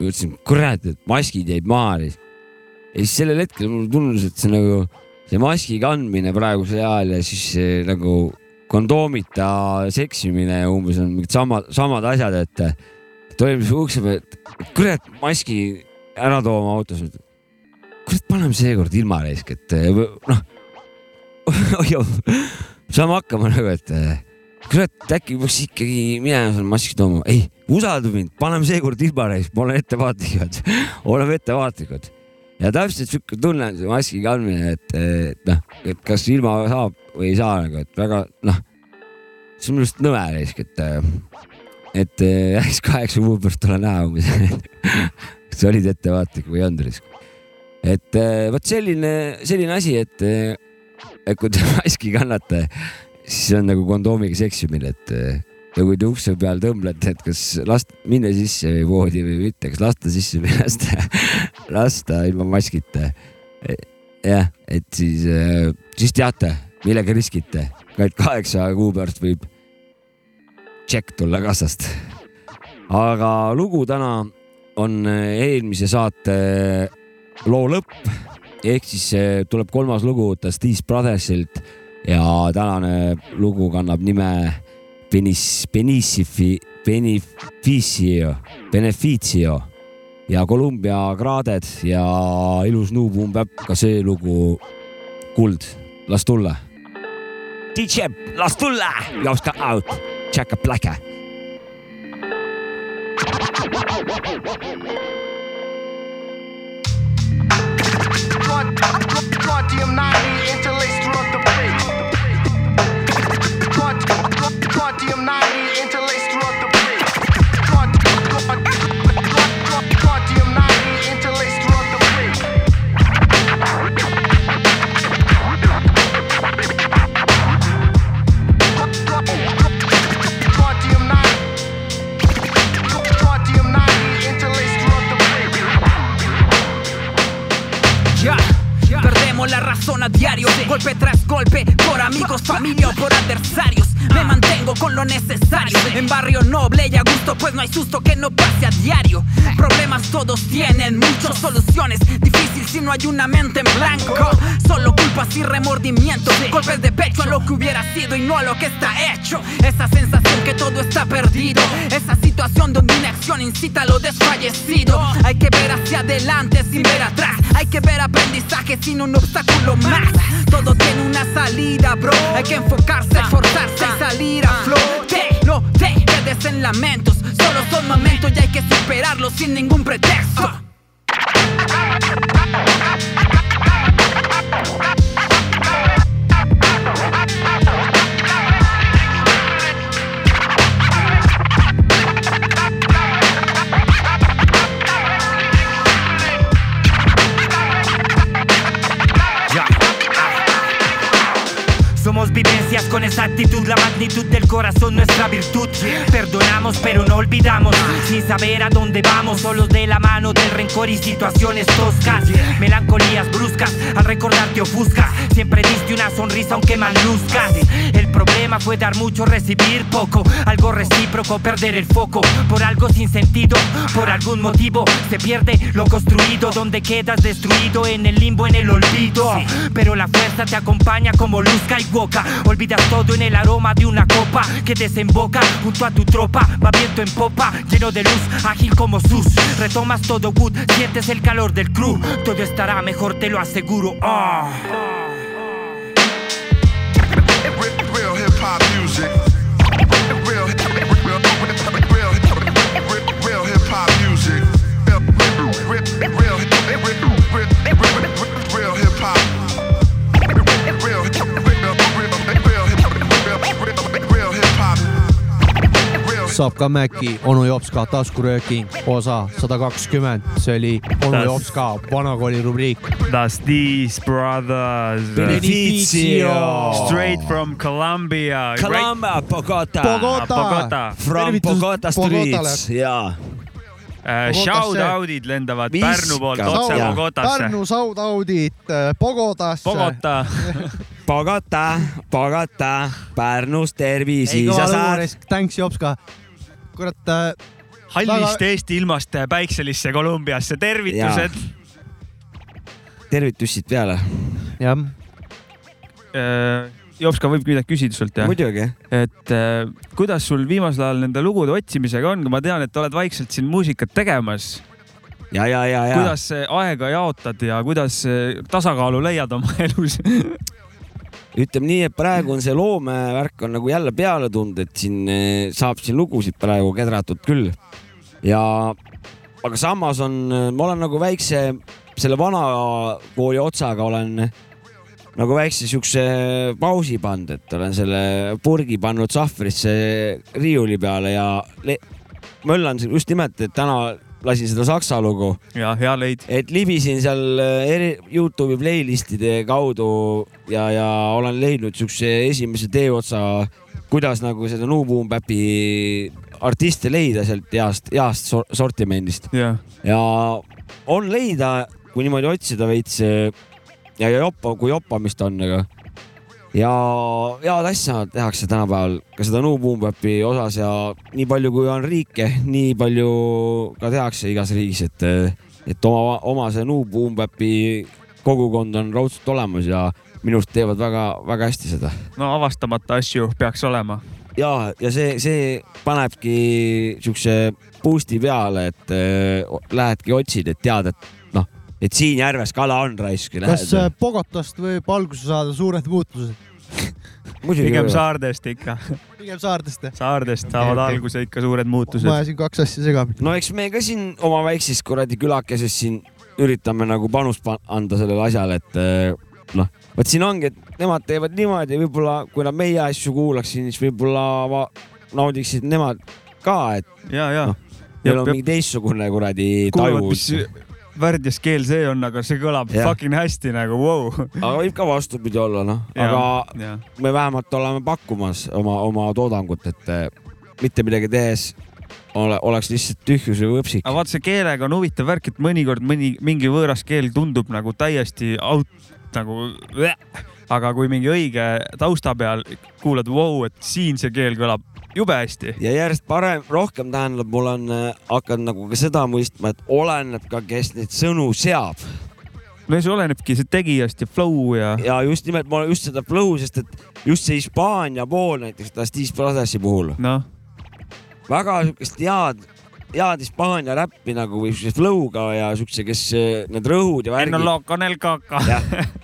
Speaker 4: mõtlesin , kurat , et maskid jäid maha siis . ja siis sellel hetkel mulle tundus , et see nagu , see maski kandmine praegusel ajal ja siis äh, nagu kondoomita seksimine ja umbes on mingid samad , samad asjad , et , et olime siis ukse peal , et kurat , maski ära tooma autos . kurat , paneme seekord ilma raisk , et äh, noh *laughs* saame hakkama nagu , et eh, kurat , äkki peaks ikkagi minema seal maski tooma . ei , usalda mind , paneme seekord ilma reis , ma olen ettevaatlikud , *laughs* oleme ettevaatlikud . ja täpselt sihuke tunne on see maski kandmine , et , et noh , et kas ilma saab või ei saa nagu , et väga noh , see on minu arust nõme risk , et , et eh, eks kaheksa kuu pärast ole näha umbes , *laughs* kas sa olid ettevaatlik või ei olnud risk . et eh, vot selline , selline asi , et eh, et kui te *laughs* maski kannate , siis see on nagu kondoomiga seksimine , et ja kui te ukse peal tõmblete , et kas lasta , minna sisse või voodi või mitte , kas lasta sisse või *laughs* lasta , lasta ilma maskita . jah , et siis , siis teate , millega riskite , vaid kaheksa kuu pärast võib tšekk tulla kassast . aga lugu täna on eelmise saate loo lõpp ehk siis eh, tuleb kolmas lugu The Steez Brothersilt ja tänane lugu kannab nime Benis- , Benisifi , Beneficio , Beneficio ja Columbia kraaded ja ilus New Boom Bap , ka see lugu , kuld , las tulla . DJ , las tulla , jookske out , tšäkka pläke
Speaker 8: Quantium 90 interlaced throughout the break. Quantium 90 interlaced throughout the break. Quantium 90 interlaced throughout the break. Quantium 90 Quantium 90 interlaced throughout the
Speaker 13: Ya, perdemos la razón a diario. Golpe tras golpe, por amigos, familia o por adversarios. Me mantengo con lo necesario. En barrio noble y a gusto, pues no hay susto que no pase a diario. Problemas todos tienen, muchas soluciones. Difícil si no hay una mente en blanco. Solo culpas y remordimientos. Golpes de pecho a lo que hubiera sido y no a lo que está hecho. Esa sensación que todo está perdido. Esa situación donde inacción incita a lo desfallecido. Hay que ver hacia adelante sin ver atrás. Hay que ver aprendizaje sin un obstáculo más. Todo tiene una salida, bro. Hay que enfocarse, esforzarse y salir a flote. No te quedes en lamentos. Solo son momentos y hay que superarlos sin ningún pretexto.
Speaker 14: Somos vivencias con exactitud, la magnitud del corazón, nuestra virtud. Perdonamos, pero no olvidamos, sin saber a dónde vamos, solos de la mano del rencor y situaciones toscas. Melancolías bruscas, al recordar te ofuscas. Siempre diste una sonrisa, aunque maluzcas. El problema fue dar mucho, recibir poco. Algo recíproco, perder el foco. Por algo sin sentido, por algún motivo, se pierde lo construido, donde quedas destruido en el limbo, en el olvido. Pero la fuerza te acompaña como luz boca Olvidas todo en el aroma de una copa que desemboca junto a tu tropa. Va viento en popa, lleno de luz, ágil como sus. Retomas todo good, sientes el calor del crew. Todo estará mejor, te lo aseguro. Ah.
Speaker 9: Real, real hip hop music. Real, real, real, real, real, real hip hop music. Real, real, real, real, real hip hop. Real, real, real, real, real, real hip hop. Real,
Speaker 2: saab ka Mäki , onu Jopska taskurööking , osa sada kakskümmend , see oli onu
Speaker 3: Das-
Speaker 2: Jopska vanakooli rubriik .
Speaker 3: Das These Brothers .
Speaker 2: Beneficio.
Speaker 3: Straight from Colombia .
Speaker 4: Colombia, Bogota.
Speaker 3: Bogota, Eh,
Speaker 4: Bogota. From Bogota streets , jaa .
Speaker 3: Shout out'id lendavad Pärnu poolt otse Bogotasse .
Speaker 2: Pärnu saudaudid äh, Bogotasse .
Speaker 3: Bogota.
Speaker 4: Bogota , Bogota , Pärnus tervis ,
Speaker 2: ei
Speaker 4: isa
Speaker 2: kõva
Speaker 4: saad .
Speaker 2: lõunarisk , thanks Jopska . kurat äh, .
Speaker 3: hallist Eesti ilmast päikselisse Kolumbiasse , tervitused .
Speaker 4: tervitussid peale .
Speaker 2: jah .
Speaker 3: Äh, Jopska võib midagi küsida sult jah ?
Speaker 4: Muidugi. .
Speaker 3: et äh, kuidas sul viimasel ajal nende lugude otsimisega on , ma tean , et oled vaikselt siin muusikat tegemas .
Speaker 4: ja , ja , ja , ja .
Speaker 3: kuidas äh, aega jaotad ja kuidas äh, tasakaalu leiad oma *laughs* elus ?
Speaker 4: ütleme nii , et praegu on see loomevärk on nagu jälle peale tulnud , et siin eh, saab siin lugusid praegu kedratud küll . ja , aga samas on , ma olen nagu väikse , selle vana kooli otsaga olen eh, nagu väikse siukse eh, pausi pannud , et olen selle purgi pannud sahvrisse riiuli peale ja le- möllan siin just nimelt , et täna lasin seda saksa lugu .
Speaker 3: ja hea leid .
Speaker 4: et libisin seal äh, eri Youtube'i playlist'ide kaudu ja , ja olen leidnud siukse esimese teeotsa , kuidas nagu seda New Boom Bap'i artiste leida sealt heast , heast sor- sortimendist .
Speaker 3: jah ,
Speaker 4: ja on leida , kui niimoodi otsida veits ja ja jopa , kui jopamist on , aga ja head asja tehakse tänapäeval ka seda New Boom Bap'i osas ja nii palju , kui on riike , nii palju ka tehakse igas riigis , et , et oma , oma see New Boom Bap'i kogukond on raudselt olemas ja minu arust teevad väga-väga hästi seda
Speaker 3: no avastamata asju peaks olema .
Speaker 4: ja , ja see , see panebki siukse boost'i peale , et äh, lähedki otsid , et tead , et noh , et siin järves kala on raisk .
Speaker 2: kas äh, Bogotast võib alguse saada suured muutused ?
Speaker 3: pigem saardest ikka .
Speaker 2: pigem saardest .
Speaker 3: saardest saavad
Speaker 2: Okei, okei.
Speaker 3: alguse ikka suured
Speaker 2: eh, ma
Speaker 3: muutused .
Speaker 2: ajasin kaks asja segamini .
Speaker 4: no eks me ka siin oma väikses kuradi külakeses siin üritame nagu panust pan anda sellele asjale , et äh, noh , vot siin ongi , et nemad teevad niimoodi , võib-olla kui nad meie asju kuulaksid , siis võib-olla va- naudiksid nemad ka , et
Speaker 3: ja , ja
Speaker 4: no, . Neil
Speaker 3: Jep,
Speaker 4: on
Speaker 3: jep.
Speaker 4: mingi teistsugune kuradi
Speaker 3: kuulavad ,
Speaker 4: taju .
Speaker 3: mis värdjas keel see on , aga see kõlab
Speaker 4: Jah.
Speaker 3: fucking hästi nagu , vau .
Speaker 4: aga võib ka vastupidi olla , noh ,
Speaker 3: Jah,
Speaker 4: aga
Speaker 3: jah.
Speaker 4: me vähemalt oleme pakkumas oma , oma toodangut , et eh, mitte midagi tehes ole , oleks lihtsalt tühjus või võpsik .
Speaker 3: aga vaat see keelega on huvitav värk , et mõnikord mõni , mingi võõras keel tundub nagu täiesti out , nagu . aga kui mingi õige tausta peal kuulad , vau , et siin see keel kõlab jube hästi .
Speaker 4: ja järjest parem , rohkem tähendab , mul on eh, hakanud nagu ka seda mõistma , et oleneb ka , kes neid sõnu seab .
Speaker 3: no see olenebki see tegijast ja flow ja .
Speaker 4: ja just nimelt ma olen just seda flow , sest et just see Hispaania pool näiteks Dastis Brothersi puhul
Speaker 3: noh ,
Speaker 4: väga siukest head , head Hispaania räppi nagu või siukse flow'ga ja siukse , kes eh, need rõhud ja värgid
Speaker 3: no . lokonel kaka .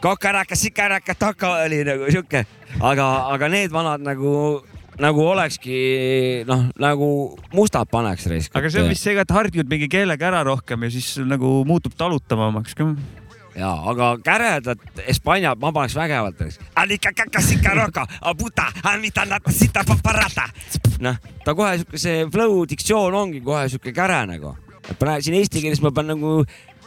Speaker 4: kokaraka , sikaraka , taka oli nagu sihuke , aga , aga need vanad nagu , nagu olekski noh , nagu mustad paneks raisk .
Speaker 3: aga see on vist see ka , et harjud mingi keelega ära rohkem ja siis nagu muutub talutavamaks ka .
Speaker 4: ja , aga käredad Hispaania , ma paneks vägevalt raisk . sikaraka , abuta , amitanata , sita , paparata . noh , ta kohe sihuke , see flow diktsioon ongi kohe sihuke käre nagu . praegu siin eesti keeles ma pean nagu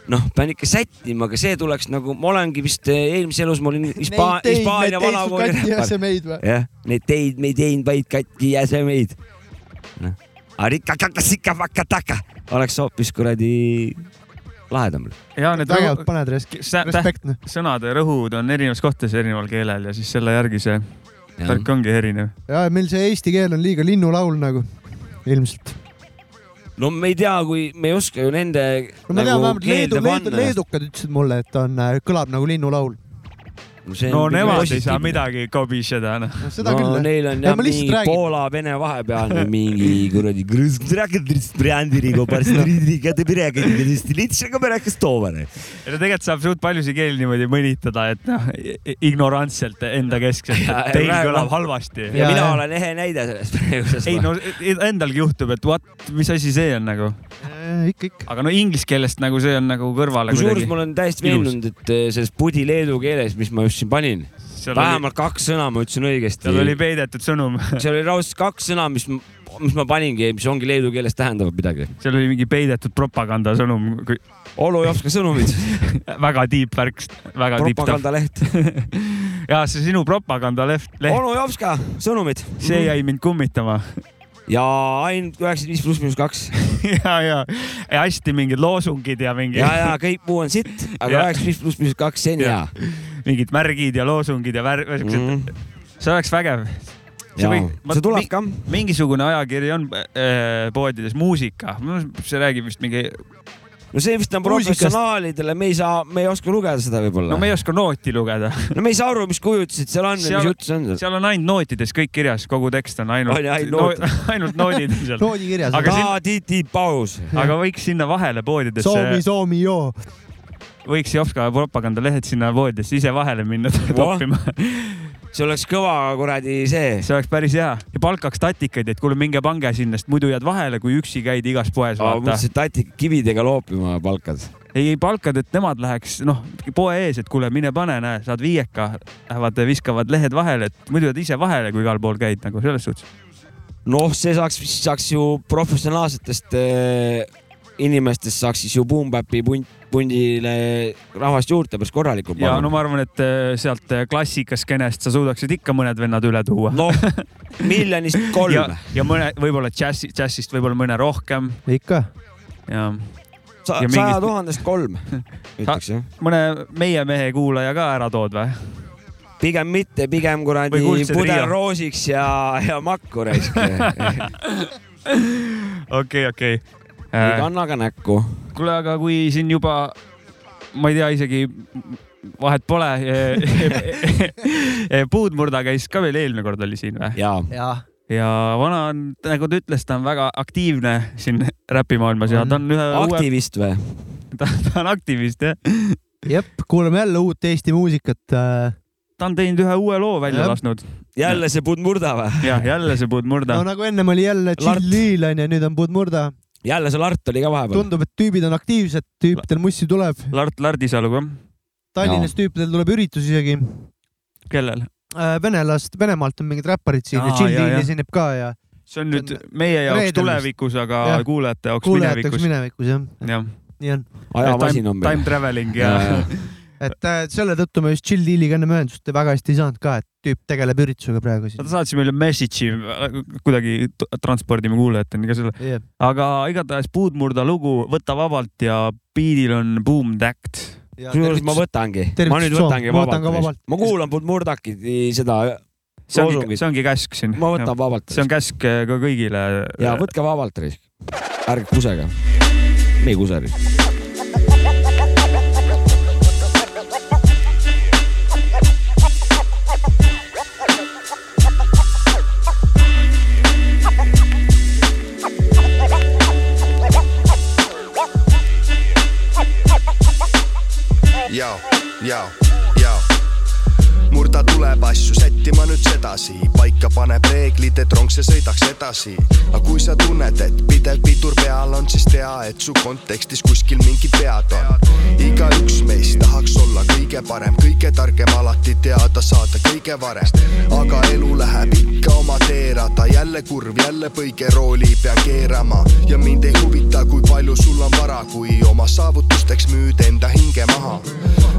Speaker 4: noh , pean ikka sättima , aga see tuleks nagu , ma olengi vist eh, eelmises elus , ma olin Hispa- , Hispaania vanakooli räppar . jah , neid teid me ei teinud , vaid katki jäsemeid . Arikakakasikamakataka oleks hoopis kuradi lahedam .
Speaker 3: ja need
Speaker 2: Vägevalt paned, res- respektne. .
Speaker 3: sõnade rõhud on erinevas kohtades erineval keelel ja siis selle järgi see värk ongi erinev .
Speaker 2: ja meil see eesti keel on liiga linnulaul nagu ilmselt .
Speaker 4: no me ei tea , kui me ei oska ju nende nagu
Speaker 2: no ma tean vähemalt leedu , leedu , leedukad ütlesid mulle , et on , kõlab nagu linnulaul .
Speaker 3: no nemad ei saa . midagi kobiseda , noh .
Speaker 2: seda No küll, jah.
Speaker 4: Neil on
Speaker 2: Ei,
Speaker 4: jah
Speaker 2: ma lihtsalt
Speaker 4: mingi
Speaker 2: räägin.
Speaker 4: Poola-Vene
Speaker 3: *laughs*
Speaker 4: vahepealne mingi kuradi kuradi .
Speaker 3: ei no tegelikult saab suht paljusid keeli niimoodi mõnitada , et noh , ignorantselt enda keskselt , et teil kõlab halvasti .
Speaker 4: ja mina olen nagu ehe näide sellest praegusest .
Speaker 3: ei no endalgi juhtub , et what , mis asi see on nagu .
Speaker 2: Äh, ikka , ikka .
Speaker 3: aga no inglise keelest nagu see on nagu kõrvale
Speaker 4: kusjuures ma olen täiesti
Speaker 3: ilus.
Speaker 4: veendunud , et eh, selles pudi leedu keeles , mis ma just siin panin ,
Speaker 3: Seal oli-
Speaker 4: vähemalt kaks sõna ma ütlesin õigesti .
Speaker 3: seal oli peidetud sõnum . *laughs*
Speaker 4: seal oli raudselt kaks sõna , mis m- mis ma paningi , mis ongi leedu keeles tähendavad midagi .
Speaker 3: seal oli mingi peidetud propagandasõnum .
Speaker 4: Olo Jopska sõnumid .
Speaker 3: *laughs* väga tiip värk , väga tiip .
Speaker 4: Propagandaleht. .
Speaker 3: *laughs* ja see sinu propagandaleht .
Speaker 4: Olo Jopska sõnumid .
Speaker 3: see jäi mind kummitama .
Speaker 4: ja ainult üheksakümmend viis pluss miinus
Speaker 3: *laughs*
Speaker 4: kaks .
Speaker 3: ja , ja ja *laughs* hästi mingid loosungid ja mingi .
Speaker 4: ja , ja kõik muu on sitt , aga üheksakümmend viis pluss miinus kaks , see on hea .
Speaker 3: mingid märgid ja loosungid ja värv , siuksed mm. . see oleks vägev .
Speaker 4: Jaa, see tuleb ka .
Speaker 3: mingisugune ajakiri on äh, poodides , muusika , see räägib vist mingi .
Speaker 4: no see vist on professionaalidele , me ei saa , me ei oska lugeda seda võib-olla
Speaker 3: no me ei oska nooti lugeda .
Speaker 4: no me ei saa aru , mis kujutised seal on ja mis jutt see on .
Speaker 3: seal on ainult nootides kõik kirjas , kogu tekst on ainult
Speaker 4: On ju, ainult noot-
Speaker 3: *laughs* ainult noodid on
Speaker 2: *laughs*
Speaker 3: seal . aga,
Speaker 4: aga
Speaker 3: sin-
Speaker 4: titi paus .
Speaker 3: aga võiks sinna vahele poodidesse .
Speaker 2: Soomi , Soomi joo .
Speaker 3: võiks Jopska propagandalehed sinna voodisse ise vahele minna *laughs* toppima .
Speaker 4: see oleks kõva kuradi see .
Speaker 3: see oleks päris hea ja palkaks tatikaid , et kuule , minge pange sinna , sest muidu jääd vahele , kui üksi käid igas poes .
Speaker 4: mõtlesin , et tatik kividega loopima palkad .
Speaker 3: ei , ei palkad , et nemad läheks noh , poe ees , et kuule , mine pane , näe , saad viieka , lähevad viskavad lehed vahele , et muidu jääd ise vahele , kui igal pool käid nagu selles suhtes .
Speaker 4: noh , see saaks , saaks ju professionaalsetest äh, inimestest saaks siis ju Boom Bapi punt , pundile rahvast juurde päris korralikult .
Speaker 3: ja no ma arvan , et äh, sealt äh, klassikaskenest sa suudaksid ikka mõned vennad üle tuua .
Speaker 4: noh , miljonist kolm
Speaker 3: *laughs* ja, ja mõne , võib-olla džässi , džässist võib-olla mõne rohkem .
Speaker 2: ikka .
Speaker 3: ja .
Speaker 4: Sa- saja tuhandest
Speaker 3: *laughs*
Speaker 4: kolm , ütleks jah .
Speaker 3: mõne meie mehe kuulaja ka ära tood või ?
Speaker 4: pigem mitte , pigem kuradi
Speaker 3: Või kuldsed
Speaker 4: puder
Speaker 3: Riia.
Speaker 4: roosiks ja , ja makku raisk .
Speaker 3: *laughs* okei , okei .
Speaker 4: ei kanna ka näkku .
Speaker 3: kuule , aga kui siin juba , ma ei tea isegi , vahet
Speaker 4: *laughs*
Speaker 3: pole . puudmurda käis ka veel eelmine kord oli siin või ?
Speaker 4: ja,
Speaker 2: Jah.
Speaker 3: ja vana on , nagu ta ütles , ta on väga aktiivne siin räpimaailmas ja ta on ühe uue-
Speaker 4: aktivist või ?
Speaker 3: *laughs* ta, ta on aktivist jah .
Speaker 2: jep , kuulame jälle uut Eesti muusikat äh, .
Speaker 3: ta on teinud ühe uue loo välja
Speaker 2: Jah.
Speaker 3: lasknud .
Speaker 4: jälle see Budmurda või ?
Speaker 3: jah , jälle see Budmurda
Speaker 2: no . nagu ennem oli jälle Tšillil onju , nüüd on Budmurda .
Speaker 4: jälle see Lart oli ka vahepeal .
Speaker 2: tundub , et tüübid on aktiivsed , tüüpidel mussi tuleb .
Speaker 3: Lart Lardisalu ka .
Speaker 2: Tallinnas tüüpidel tuleb üritusi isegi .
Speaker 3: kellel ?
Speaker 2: Äh, venelast , Venemaalt on mingid räpparid siin ja
Speaker 3: Aa, jaa,
Speaker 2: Tšillil
Speaker 3: jaa.
Speaker 2: esineb ka ja
Speaker 3: see on nüüd meie jaoks
Speaker 2: reedel
Speaker 3: tulevikus , aga
Speaker 2: Jah.
Speaker 3: kuulajate jaoks
Speaker 2: kuulajate jaoks
Speaker 3: minevikus .
Speaker 2: minevikus jah ,
Speaker 3: jah .
Speaker 2: nii on .
Speaker 4: Ajamasin on meil.
Speaker 3: Time traveling ja,
Speaker 4: Jaa,
Speaker 3: ja.
Speaker 4: jaa.
Speaker 2: *laughs* et äh, selle tõttu me just Tšilliliga ennem ühendust väga hästi ei saanud ka , et tüüp tegeleb üritusega praegu
Speaker 3: Nad
Speaker 2: siin .
Speaker 3: saatsid meile message'i , kuidagi t- transpordime kuulajateni ka selle
Speaker 2: Jah.
Speaker 3: aga igatahes Puudmurda lugu Võta vabalt ja beat'il on Boom Tact .
Speaker 4: kusjuures ma võtangi , ma nüüd
Speaker 2: tervitused
Speaker 4: võtangi
Speaker 2: Soom- ma võtan
Speaker 4: vabalt,
Speaker 2: ka
Speaker 4: vabalt. . ma kuulan Budmurdaki seda
Speaker 3: see ongi ,
Speaker 4: loosungit
Speaker 3: see . ongi käsk siin .
Speaker 4: ma võtan vabalt.
Speaker 3: see on käsk eh, ka kõigile .
Speaker 4: ja võtke vabalt raisk , ärge kusege . me ei kuse raisk .
Speaker 15: Joo, joo, joo . murda tuleb asju sättima nüüd sedasi , paika paneb reeglid , et rong see sõidaks edasi . aga kui sa tunned , et pidev pidur peal on , siis tea , et su kontekstis kuskil mingid vead on . igaüks meist tahaks olla kõige parem , kõige targem , alati teada saada kõige varem . aga elu läheb ikka oma teerada , jälle kurv , jälle põige , rooli pean keerama ja mind ei huvita , kui palju sul on vara , kui oma saavutusteks müüd enda hinge maha .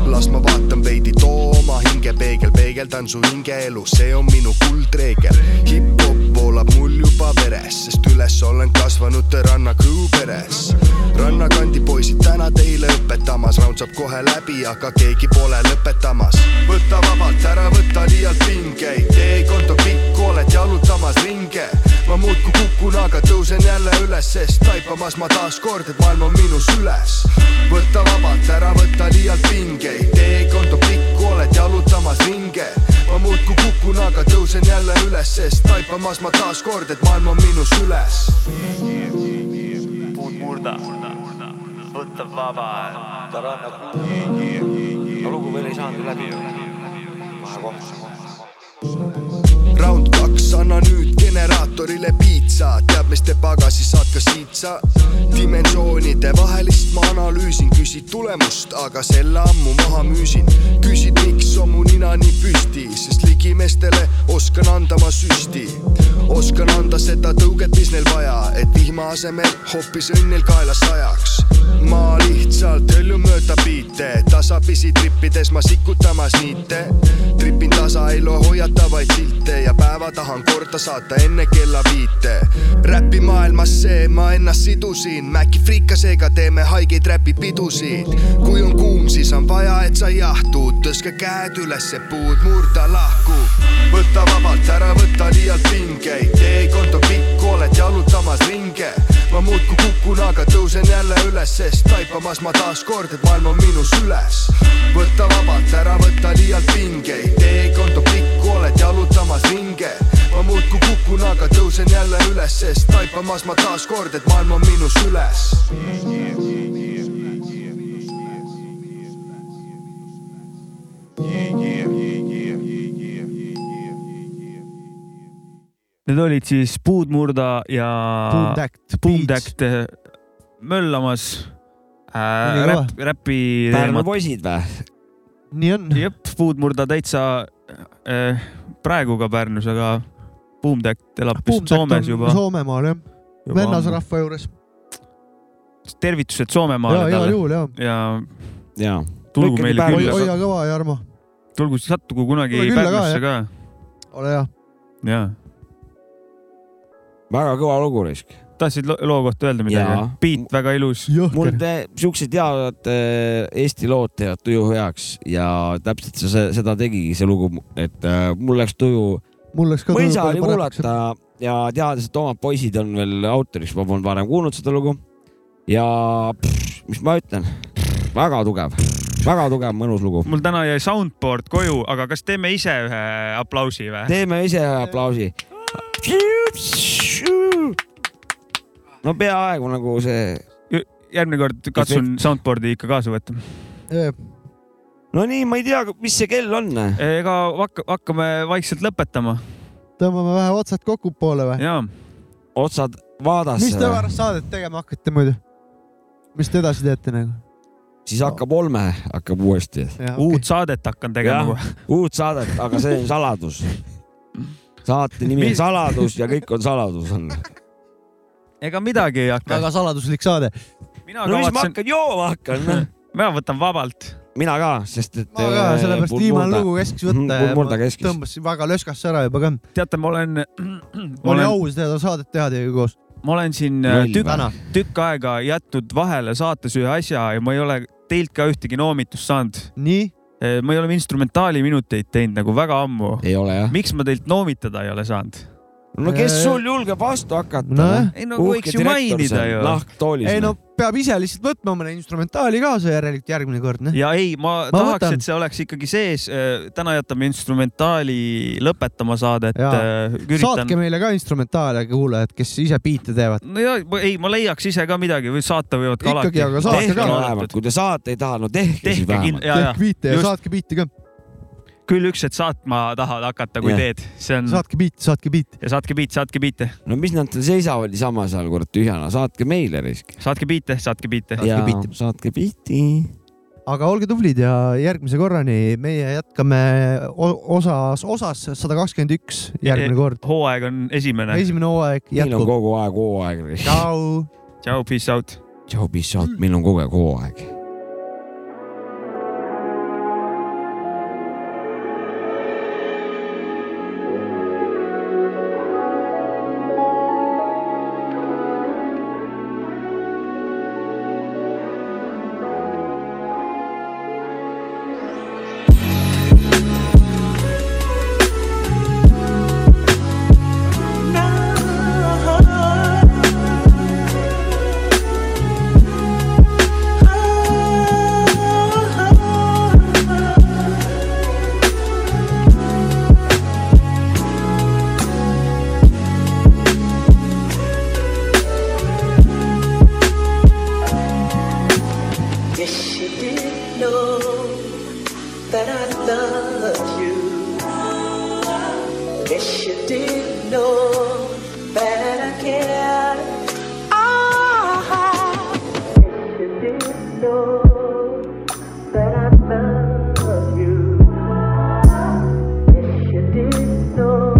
Speaker 15: las ma vaatan veidi , too oma hinge peegel , peegeldan su hingeelu , see on minu kuldreegel . hip-hop voolab mul juba veres , sest üles olen kasvanud ranna crew peres . rannakandi poisid täna teile õpetamas , raund saab kohe läbi , aga keegi pole lõpetamas . võta vabalt , ära võta liialt pingeid , teekond on pikk , oled jalutamas ringe . ma muudkui kukun , aga tõusen jälle üles , sest taipamas ma taas kord , et maailm on minus üles . võta vabalt , ära võta liialt pingeid , teekond on pikk , oled jalutamas ringe . ma muudkui kukun , aga tõusen jälle üles , sest taipamas ma taas kord , et maailm on minus üles .
Speaker 16: murda , võta vabalt , ära nagu .
Speaker 4: no lugu veel ei saanud läbi ju . vahekoht .
Speaker 15: Round kaks , anna nüüd generaator traktorile piitsa , teab , mis te pagasi saad ka siit sa . dimensioonide vahelist ma analüüsin , küsid tulemust , aga selle ammu maha müüsin . küsid , miks on mu nina nii püsti , sest ligimeestele oskan anda ma süsti . oskan anda seda tõuget , mis neil vaja , et vihma asemel hoopis õnn neil kaelas ajaks . ma lihtsalt hõljun mööda biite , tasapisi trippides ma sikutamas niite . tripin tasa , ei loo hoiatavaid silte ja päeva tahan korda saata enne kella viite . räpi maailmas see , ma ennast sidusin , Maci friikasega teeme haigeid räpipidusid . kui on kuum , siis on vaja , et sa jahtud , tõstke käed ülesse , puud murda lahku . võta vabalt , ära võta liialt pingeid , tee konto pikk , oled jalutamas ringe . ma muudkui kukun , aga tõusen jälle üles , sest taipamas ma taas kord , et maailm on minus üles . võta vabalt , ära võta liialt pingeid , tee konto pikk , oled jalutamas ringe . ma muudkui kukun , aga tõusen jälle üles , sest taipamas ma taas kord , et maailm on minus üles .
Speaker 3: Need olid siis Puudmurda ja
Speaker 2: Boomtact
Speaker 3: Boomtact möllamas
Speaker 2: Oli
Speaker 3: äh,
Speaker 2: kõva.
Speaker 3: räpp , räpi .
Speaker 2: Pärnu
Speaker 4: poisid või ?
Speaker 2: nii on .
Speaker 3: jep , Puudmurda täitsa äh, praegu ka Pärnus , aga Boomtact elab vist Soomes juba .
Speaker 2: Soomemaal jah ,
Speaker 3: Juba
Speaker 2: vennasrahva juures .
Speaker 3: tervitused Soomemaale
Speaker 2: Jaa, igal juhul, jaa.
Speaker 3: ja ,
Speaker 4: ja
Speaker 3: tulgu meile
Speaker 2: hoia
Speaker 3: külla ,
Speaker 2: kõva , Jarmo ,
Speaker 3: tulgu , sattugu kunagi
Speaker 2: Tule külla ka,
Speaker 3: Pärnusse ka
Speaker 2: jah. ole hea .
Speaker 3: ja .
Speaker 4: väga kõva lugu risk .
Speaker 3: tahtsid lo- loo kohta öelda midagi
Speaker 4: Jaa. ?
Speaker 3: beat väga ilus .
Speaker 4: mul te- siuksed head eh, Eesti lood teevad tuju heaks ja täpselt see- see , seda tegigi see lugu , et eh, mul läks tuju .
Speaker 2: mul läks ka
Speaker 4: ma
Speaker 2: tuju
Speaker 4: ise
Speaker 2: palju
Speaker 4: olin
Speaker 2: paremaks,
Speaker 4: kuulata ja teades , et omad poisid on veel autoriks , ma polnud varem kuulnud seda lugu . ja pff, mis ma ütlen , väga tugev , väga tugev , mõnus lugu .
Speaker 3: mul täna jäi soundboard koju , aga kas teeme ise ühe aplausi või ?
Speaker 4: teeme ise
Speaker 3: Äh.
Speaker 4: ühe aplausi . no peaaegu nagu see .
Speaker 3: järgmine kord katsun soundboard'i ikka kaasa võtta .
Speaker 4: no nii , ma ei tea , mis see kell on .
Speaker 3: ega hakka- , hakkame vaikselt lõpetama .
Speaker 2: tõmbame vähe otsad kokku poole või ?
Speaker 3: jaa .
Speaker 4: otsad vaadasse .
Speaker 2: mis te pärast saadet tegema hakkate muidu ? mis te edasi teete nagu ?
Speaker 4: siis hakkab olme , hakkab uuesti .
Speaker 2: Jaa,
Speaker 3: uut saadet hakkan tegema .
Speaker 4: uut saadet , aga see on saladus . saate nimi on saladus ja kõik on saladus on .
Speaker 3: ega midagi ei hakka .
Speaker 2: väga saladuslik saade .
Speaker 3: mina
Speaker 4: no mis ma
Speaker 3: kavatsen ,
Speaker 4: hakkan jooma hakkan ?
Speaker 3: *laughs* mina võtan vabalt .
Speaker 4: mina ka , sest et .
Speaker 2: ma ka , sellepärast viimane lugu keskis võtta ja ma
Speaker 4: Mhm, murda keskis .
Speaker 2: tõmbasin väga löskasse ära juba ka .
Speaker 3: teate , ma olen , *clears throat*
Speaker 2: oli
Speaker 3: olen-
Speaker 2: au seda saadet teha teiega koos .
Speaker 3: ma olen siin äh,
Speaker 2: Loll
Speaker 3: tükk
Speaker 2: täna. ,
Speaker 3: tükk aega jätnud vahele saates ühe asja ja ma ei ole teilt ka ühtegi noomitust saanud .
Speaker 2: nii ?
Speaker 3: ma ei ole instrumentaali minuteid teinud nagu väga ammu .
Speaker 4: ei ole jah .
Speaker 3: miks ma teilt noomitada ei ole saanud ?
Speaker 4: no kes sul eh? julgeb vastu hakata noh.
Speaker 2: Nojah. ?
Speaker 3: Ei, no võiks ju mainida ju.
Speaker 4: nahktoolis .
Speaker 2: ei no peab ise lihtsalt võtma mõne instrumentaali kaasa järelikult järgmine kord , noh .
Speaker 3: ja ei , ma,
Speaker 2: Ma
Speaker 3: ma tahaks
Speaker 2: võtan.
Speaker 3: võtan. , et see oleks ikkagi sees . täna jätame instrumentaali lõpetama saadet . Äh,
Speaker 2: saatke meile ka instrumentaale , kuulajad , kes ise biite teevad .
Speaker 3: no ja ei , ma leiaks ise ka midagi või saata võivad ka
Speaker 2: Ikkagi, aga saatke
Speaker 3: alati .
Speaker 2: ka.
Speaker 4: vähemalt , kui te saate ei taha , no tehke, siis
Speaker 3: tehke
Speaker 4: vähemalt
Speaker 3: kindlasti ,. ja ,
Speaker 2: tehke biite
Speaker 3: ja
Speaker 2: ja
Speaker 3: just saat...
Speaker 2: saatke biite ka .
Speaker 3: küll üks , et saatma tahad hakata , kui
Speaker 4: Jah.
Speaker 3: yeah. teed , see on
Speaker 2: saatke biite , saatke biite .
Speaker 3: Mm. ja saatke biite , saatke biite ,
Speaker 4: no mis nad seal seisavad niisama seal kurat tühjana , saatke meile risk .
Speaker 3: saatke biite , saatke biite .
Speaker 4: ja saatke pihti .
Speaker 2: aga olge tublid ja järgmise korrani meie jätkame o- osas , osas sada kakskümmend üks
Speaker 3: E-,
Speaker 2: järgmine kord .
Speaker 3: hooaeg on esimene .
Speaker 2: esimene hooaeg
Speaker 4: meil on
Speaker 2: jätkub .
Speaker 4: kogu aeg hooaeg risk .
Speaker 2: tšau .
Speaker 3: tšau , peace out .
Speaker 4: tšau , peace out , meil on kogu aeg hooaeg .
Speaker 17: Yes, she did know that I loved you. Yes, she did know that I care. Ah, if you did know that I love you. If you did know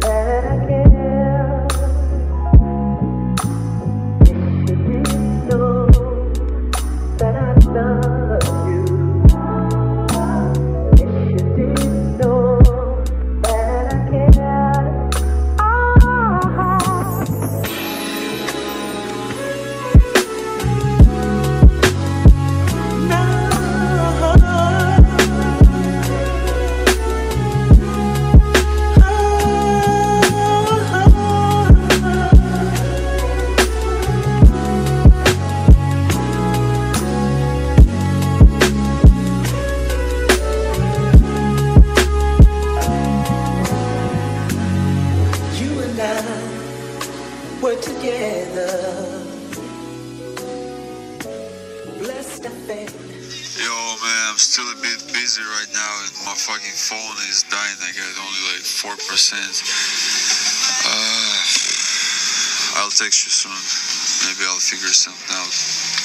Speaker 17: that I care. If you did know that I love you. If you did know that I care. Ah. You and I were together. Blessed affair.
Speaker 18: Yo, man, I'm still a bit busy right now, and my fucking phone is dying. I got only like four percent. Uh, I'll text you soon. Maybe I'll figure something out.